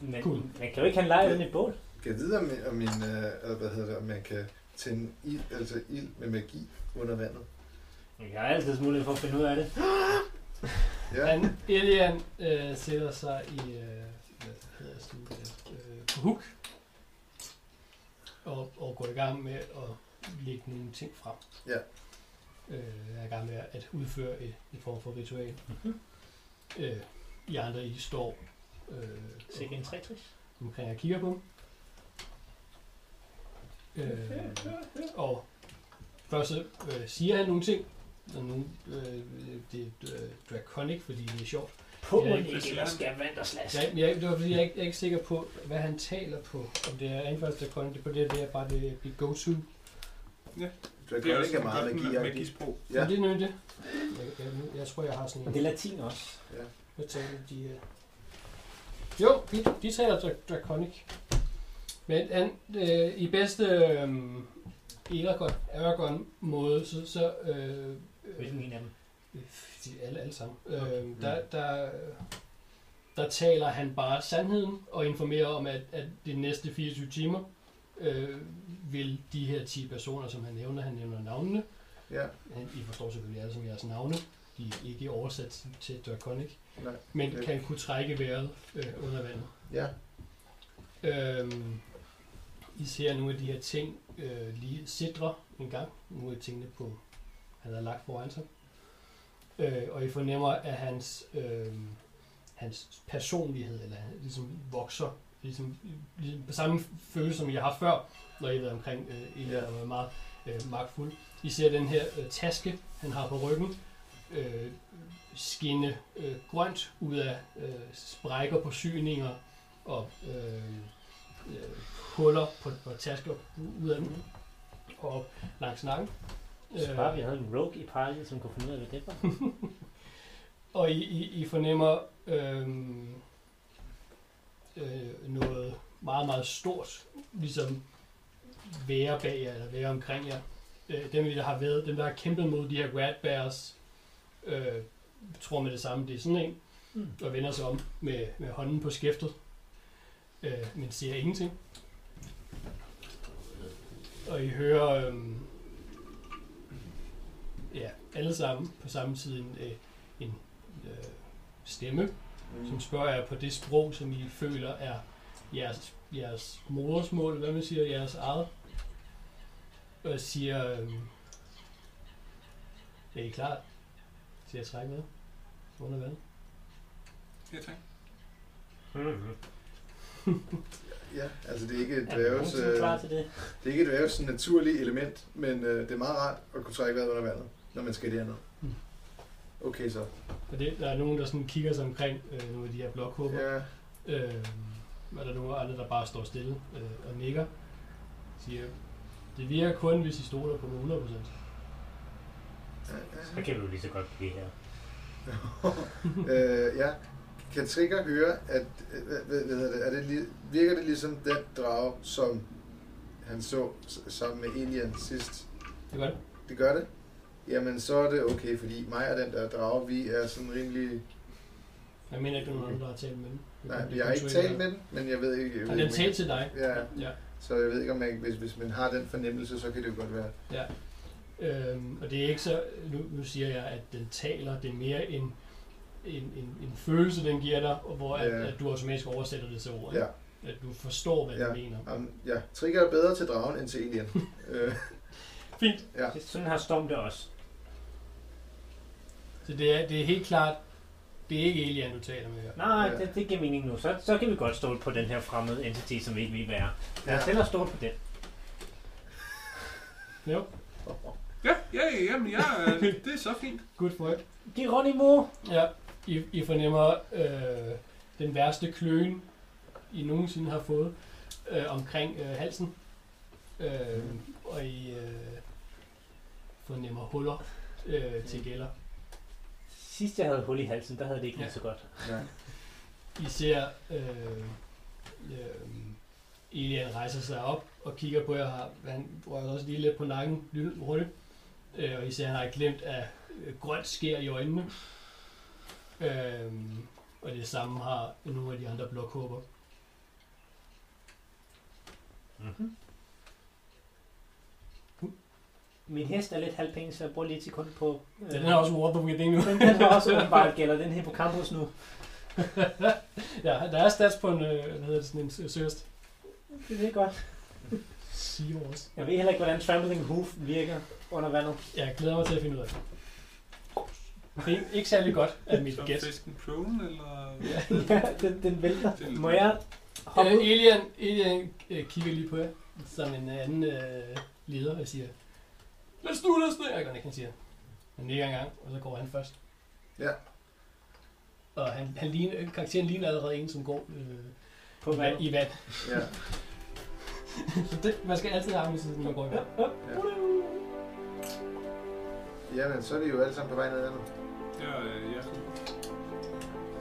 Speaker 3: Man,
Speaker 2: Cool.
Speaker 3: man kan jo ikke have en leg uden et bål.
Speaker 4: Kan jeg vide, om, om, min, øh, hvad hedder det, om man kan tænde ild, altså ild med magi under vandet.
Speaker 3: Jeg har altid mulighed for at finde ud af det.
Speaker 4: Ja,
Speaker 2: Han, Elian øh, sætter sig i, øh, hvad hedder sådan det, øh, på huk, og, og går i gang med at lægge nogle ting frem.
Speaker 4: Ja.
Speaker 2: Øh, er i gang med at udføre et, et form for ritual.
Speaker 3: Mhm.
Speaker 2: Mm-hmm. Øh, I andre, I står øh,
Speaker 3: Sikke en trætris.
Speaker 2: omkring og kigger på dem. Øh, og først så, øh, siger han nogle ting, og nogle, øh, det er øh, draconic, fordi det er sjovt.
Speaker 3: På
Speaker 2: Ja,
Speaker 3: en
Speaker 5: præcis.
Speaker 3: ikke, eller skal vand og slask.
Speaker 2: Ja, men Altså, jeg, det var fordi, jeg, er ikke, jeg er ikke sikker på, hvad han taler på. Om det er anfaldsdrakon, det på det, det er bare det, det go-to.
Speaker 4: det kan ikke
Speaker 5: sådan
Speaker 4: meget
Speaker 5: en
Speaker 4: magi.
Speaker 5: magi
Speaker 4: agtigt.
Speaker 5: sprog.
Speaker 2: Ja.
Speaker 4: Ja.
Speaker 2: Men det er nemlig det. Jeg, jeg, jeg, tror, jeg har sådan
Speaker 3: Men det er
Speaker 2: en...
Speaker 3: latin også.
Speaker 2: Hvad taler de her? Jo, de, de taler dra- draconic. Men han, øh, i bedste øh, Eragon, måde, så... så øh, øh,
Speaker 3: Hvilken en af dem?
Speaker 2: de er alle, alle sammen. Øh, der, der, der taler han bare sandheden og informerer om, at, at de næste 24 timer øh, vil de her 10 personer, som han nævner, han nævner navnene.
Speaker 4: Ja,
Speaker 2: Han, I forstår selvfølgelig alle som jeres navne. De er ikke oversat til- til Draconic,
Speaker 4: nej,
Speaker 2: men
Speaker 4: Ja.
Speaker 2: kan kunne trække vejret øh, under vandet.
Speaker 4: ja.
Speaker 2: Øhm, I ser nogle af de her ting øh, lige sidre en gang. Nogle af tingene, på, han har lagt foran sig. Øh, og I fornemmer, at hans, øh, hans personlighed eller han ligesom vokser. Ligesom, ligesom på samme følelse, som jeg har før, når I har været omkring øh, Elia
Speaker 4: Ja.
Speaker 2: og været meget øh, magtfuld. I ser den her øh, taske, han har på ryggen, øh, skinne øh, grønt ud af øh, sprækker på syninger og øh, øh, huller på, på tasker ud af den og op langs nakken. Øh,
Speaker 3: Så bare vi havde en rogue i parken, som kunne finde ud af, hvad det var.
Speaker 2: Og I, I, I fornemmer øh, øh, noget meget, meget stort, ligesom være bag jer, eller være omkring jer. Øh, dem, der har været, dem, der har kæmpet mod de her rat bears, øh, tror med det samme, det er sådan en,
Speaker 3: Mm.
Speaker 2: og vender sig om med, med hånden på skæftet, øh, men siger ingenting. Og I hører, øh, ja, alle sammen på samme tid en, øh, en øh, stemme, som
Speaker 4: Mm.
Speaker 2: spørger jer på det sprog, som I føler er jeres, jeres modersmål, hvad man siger, jeres eget. Og siger, øhm, er I klar til at trække med? Under vandet.
Speaker 5: Ja, tak.
Speaker 3: Mm-hmm.
Speaker 4: Ja, altså det er ikke et
Speaker 3: Er der nogen,
Speaker 4: dværges,
Speaker 3: som er
Speaker 4: øh,
Speaker 3: klar til det?
Speaker 4: det er ikke et dværges sådan naturlige element, men øh, det er meget rart at kunne trække vejret under vandet, når man skal derned.
Speaker 2: Mm.
Speaker 4: Okay så.
Speaker 2: Og det, der er nogen, der sådan kigger sig omkring øh, nogle af de her blokhugger.
Speaker 4: Ja,
Speaker 2: Øh, er der nogle andre, der bare står stille øh, og nikker. Siger, det virker kun, hvis I stoler på mig 100%.
Speaker 3: Så kan vi jo lige så godt blive her.
Speaker 4: øh, ja. Kan Trigger høre, at øh, hvad, hvad hvad hedder det, er det lige, virker det ligesom den drage, som han så s- sammen med Elian sidst?
Speaker 2: Det gør det.
Speaker 4: Det gør det? Jamen så er det okay, fordi mig og den der drage, vi er sådan rimelig...
Speaker 2: Jeg mener ikke, der er nogen andre, der har talt med dem. Det er
Speaker 4: Nej,
Speaker 2: kun- det er
Speaker 4: jeg har
Speaker 2: kun
Speaker 4: ikke
Speaker 2: Trigger,
Speaker 4: talt
Speaker 2: der-
Speaker 4: med den, men jeg ved ikke... Jeg
Speaker 2: Har
Speaker 4: ved
Speaker 2: den
Speaker 4: ikke, om jeg-
Speaker 2: talt til dig?
Speaker 4: Ja,
Speaker 2: Ja.
Speaker 4: så jeg ved ikke, om man, hvis, hvis man har den fornemmelse, så kan det jo godt være.
Speaker 2: Øhm, og det er ikke så, nu, nu siger jeg, at den taler, det er mere en, en, en, en følelse, den giver dig, og hvor at,
Speaker 4: Ja.
Speaker 2: at du automatisk oversætter det til ord.
Speaker 4: Ja,
Speaker 2: ikke? At du forstår, hvad ja.
Speaker 4: Ja.
Speaker 2: den mener.
Speaker 4: um, ja. Trigger er bedre til dragen end til Elian. øh,
Speaker 2: Fint.
Speaker 4: ja.
Speaker 3: Det- Sådan har Storm det også.
Speaker 2: Så det er, det er helt klart, det er ikke Elian, du taler med her.
Speaker 3: Nej,
Speaker 4: Ja.
Speaker 3: det, det giver mening nu. Så, så kan vi godt stole på den her fremmede entity, som vi ikke ved, hvad er. Lad os
Speaker 4: Ja.
Speaker 3: hellere stole på den.
Speaker 2: Jo.
Speaker 5: Ja, Ja, ja, jamen, jeg, er- det er så fint.
Speaker 2: Good for it.
Speaker 3: Geronimo!
Speaker 2: Ja, I, I fornemmer øh, den værste kløen, I nogensinde har fået øh, omkring øh, halsen. Øh, og I øh, fornemmer huller øh, til gælder.
Speaker 3: Sidst jeg havde hul i halsen, der havde det ikke
Speaker 2: Ja.
Speaker 3: ja. så godt.
Speaker 4: Nej.
Speaker 2: I ser øh, øh, Elian rejser sig op og kigger på jer. Har, han rører også lige lidt på nakken, lille rulle. Øh, og I ser, han har glemt af øh, grønt skær i øjnene. Øh, og det samme har nogle af de andre blokhåber.
Speaker 3: Min hest er lidt halvpenge, så jeg bruger lige et sekund på... Øh,
Speaker 2: Ja, den er også War the Within nu.
Speaker 3: den, den har også åbenbart gælder den her på campus nu.
Speaker 2: ja, der er stats på en, øh, hvad hedder det, sådan en s- søst.
Speaker 3: Det er godt.
Speaker 2: Siger også.
Speaker 3: Jeg ved heller ikke, hvordan trampling hoof virker under vandet.
Speaker 2: Jeg glæder mig til at finde ud af det. Det er ikke særlig godt, at mit
Speaker 5: Så
Speaker 2: gæt.
Speaker 5: fisken prone, eller...
Speaker 3: ja, den, den vælter. Må jeg hoppe
Speaker 2: Øh,
Speaker 3: ud?
Speaker 2: Elian, Elian øh, kigger lige på jer, som en anden øh, leder, og siger, Let's do this! thing." Jeg kan ikke, han siger. Han nikker engang, og så går han først.
Speaker 4: Ja.
Speaker 2: Og han, han ligner, karakteren ligner allerede en, som går øh, i
Speaker 3: På
Speaker 2: vand-
Speaker 3: vandet.
Speaker 2: i vand.
Speaker 4: Ja.
Speaker 2: Så det, man skal altid have ham i siden, når man går i vand.
Speaker 4: Jamen, så er vi jo alle sammen på vej ned nu.
Speaker 5: Ja, øh,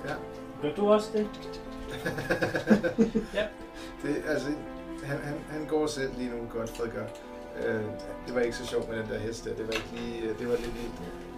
Speaker 5: ja.
Speaker 3: Gør du også det?
Speaker 4: Det, altså, han, han, han går selv lige nu, godt Fred gør. Øh, det var ikke så sjovt med den der hest der. Det var, ikke lige, det var lidt, lidt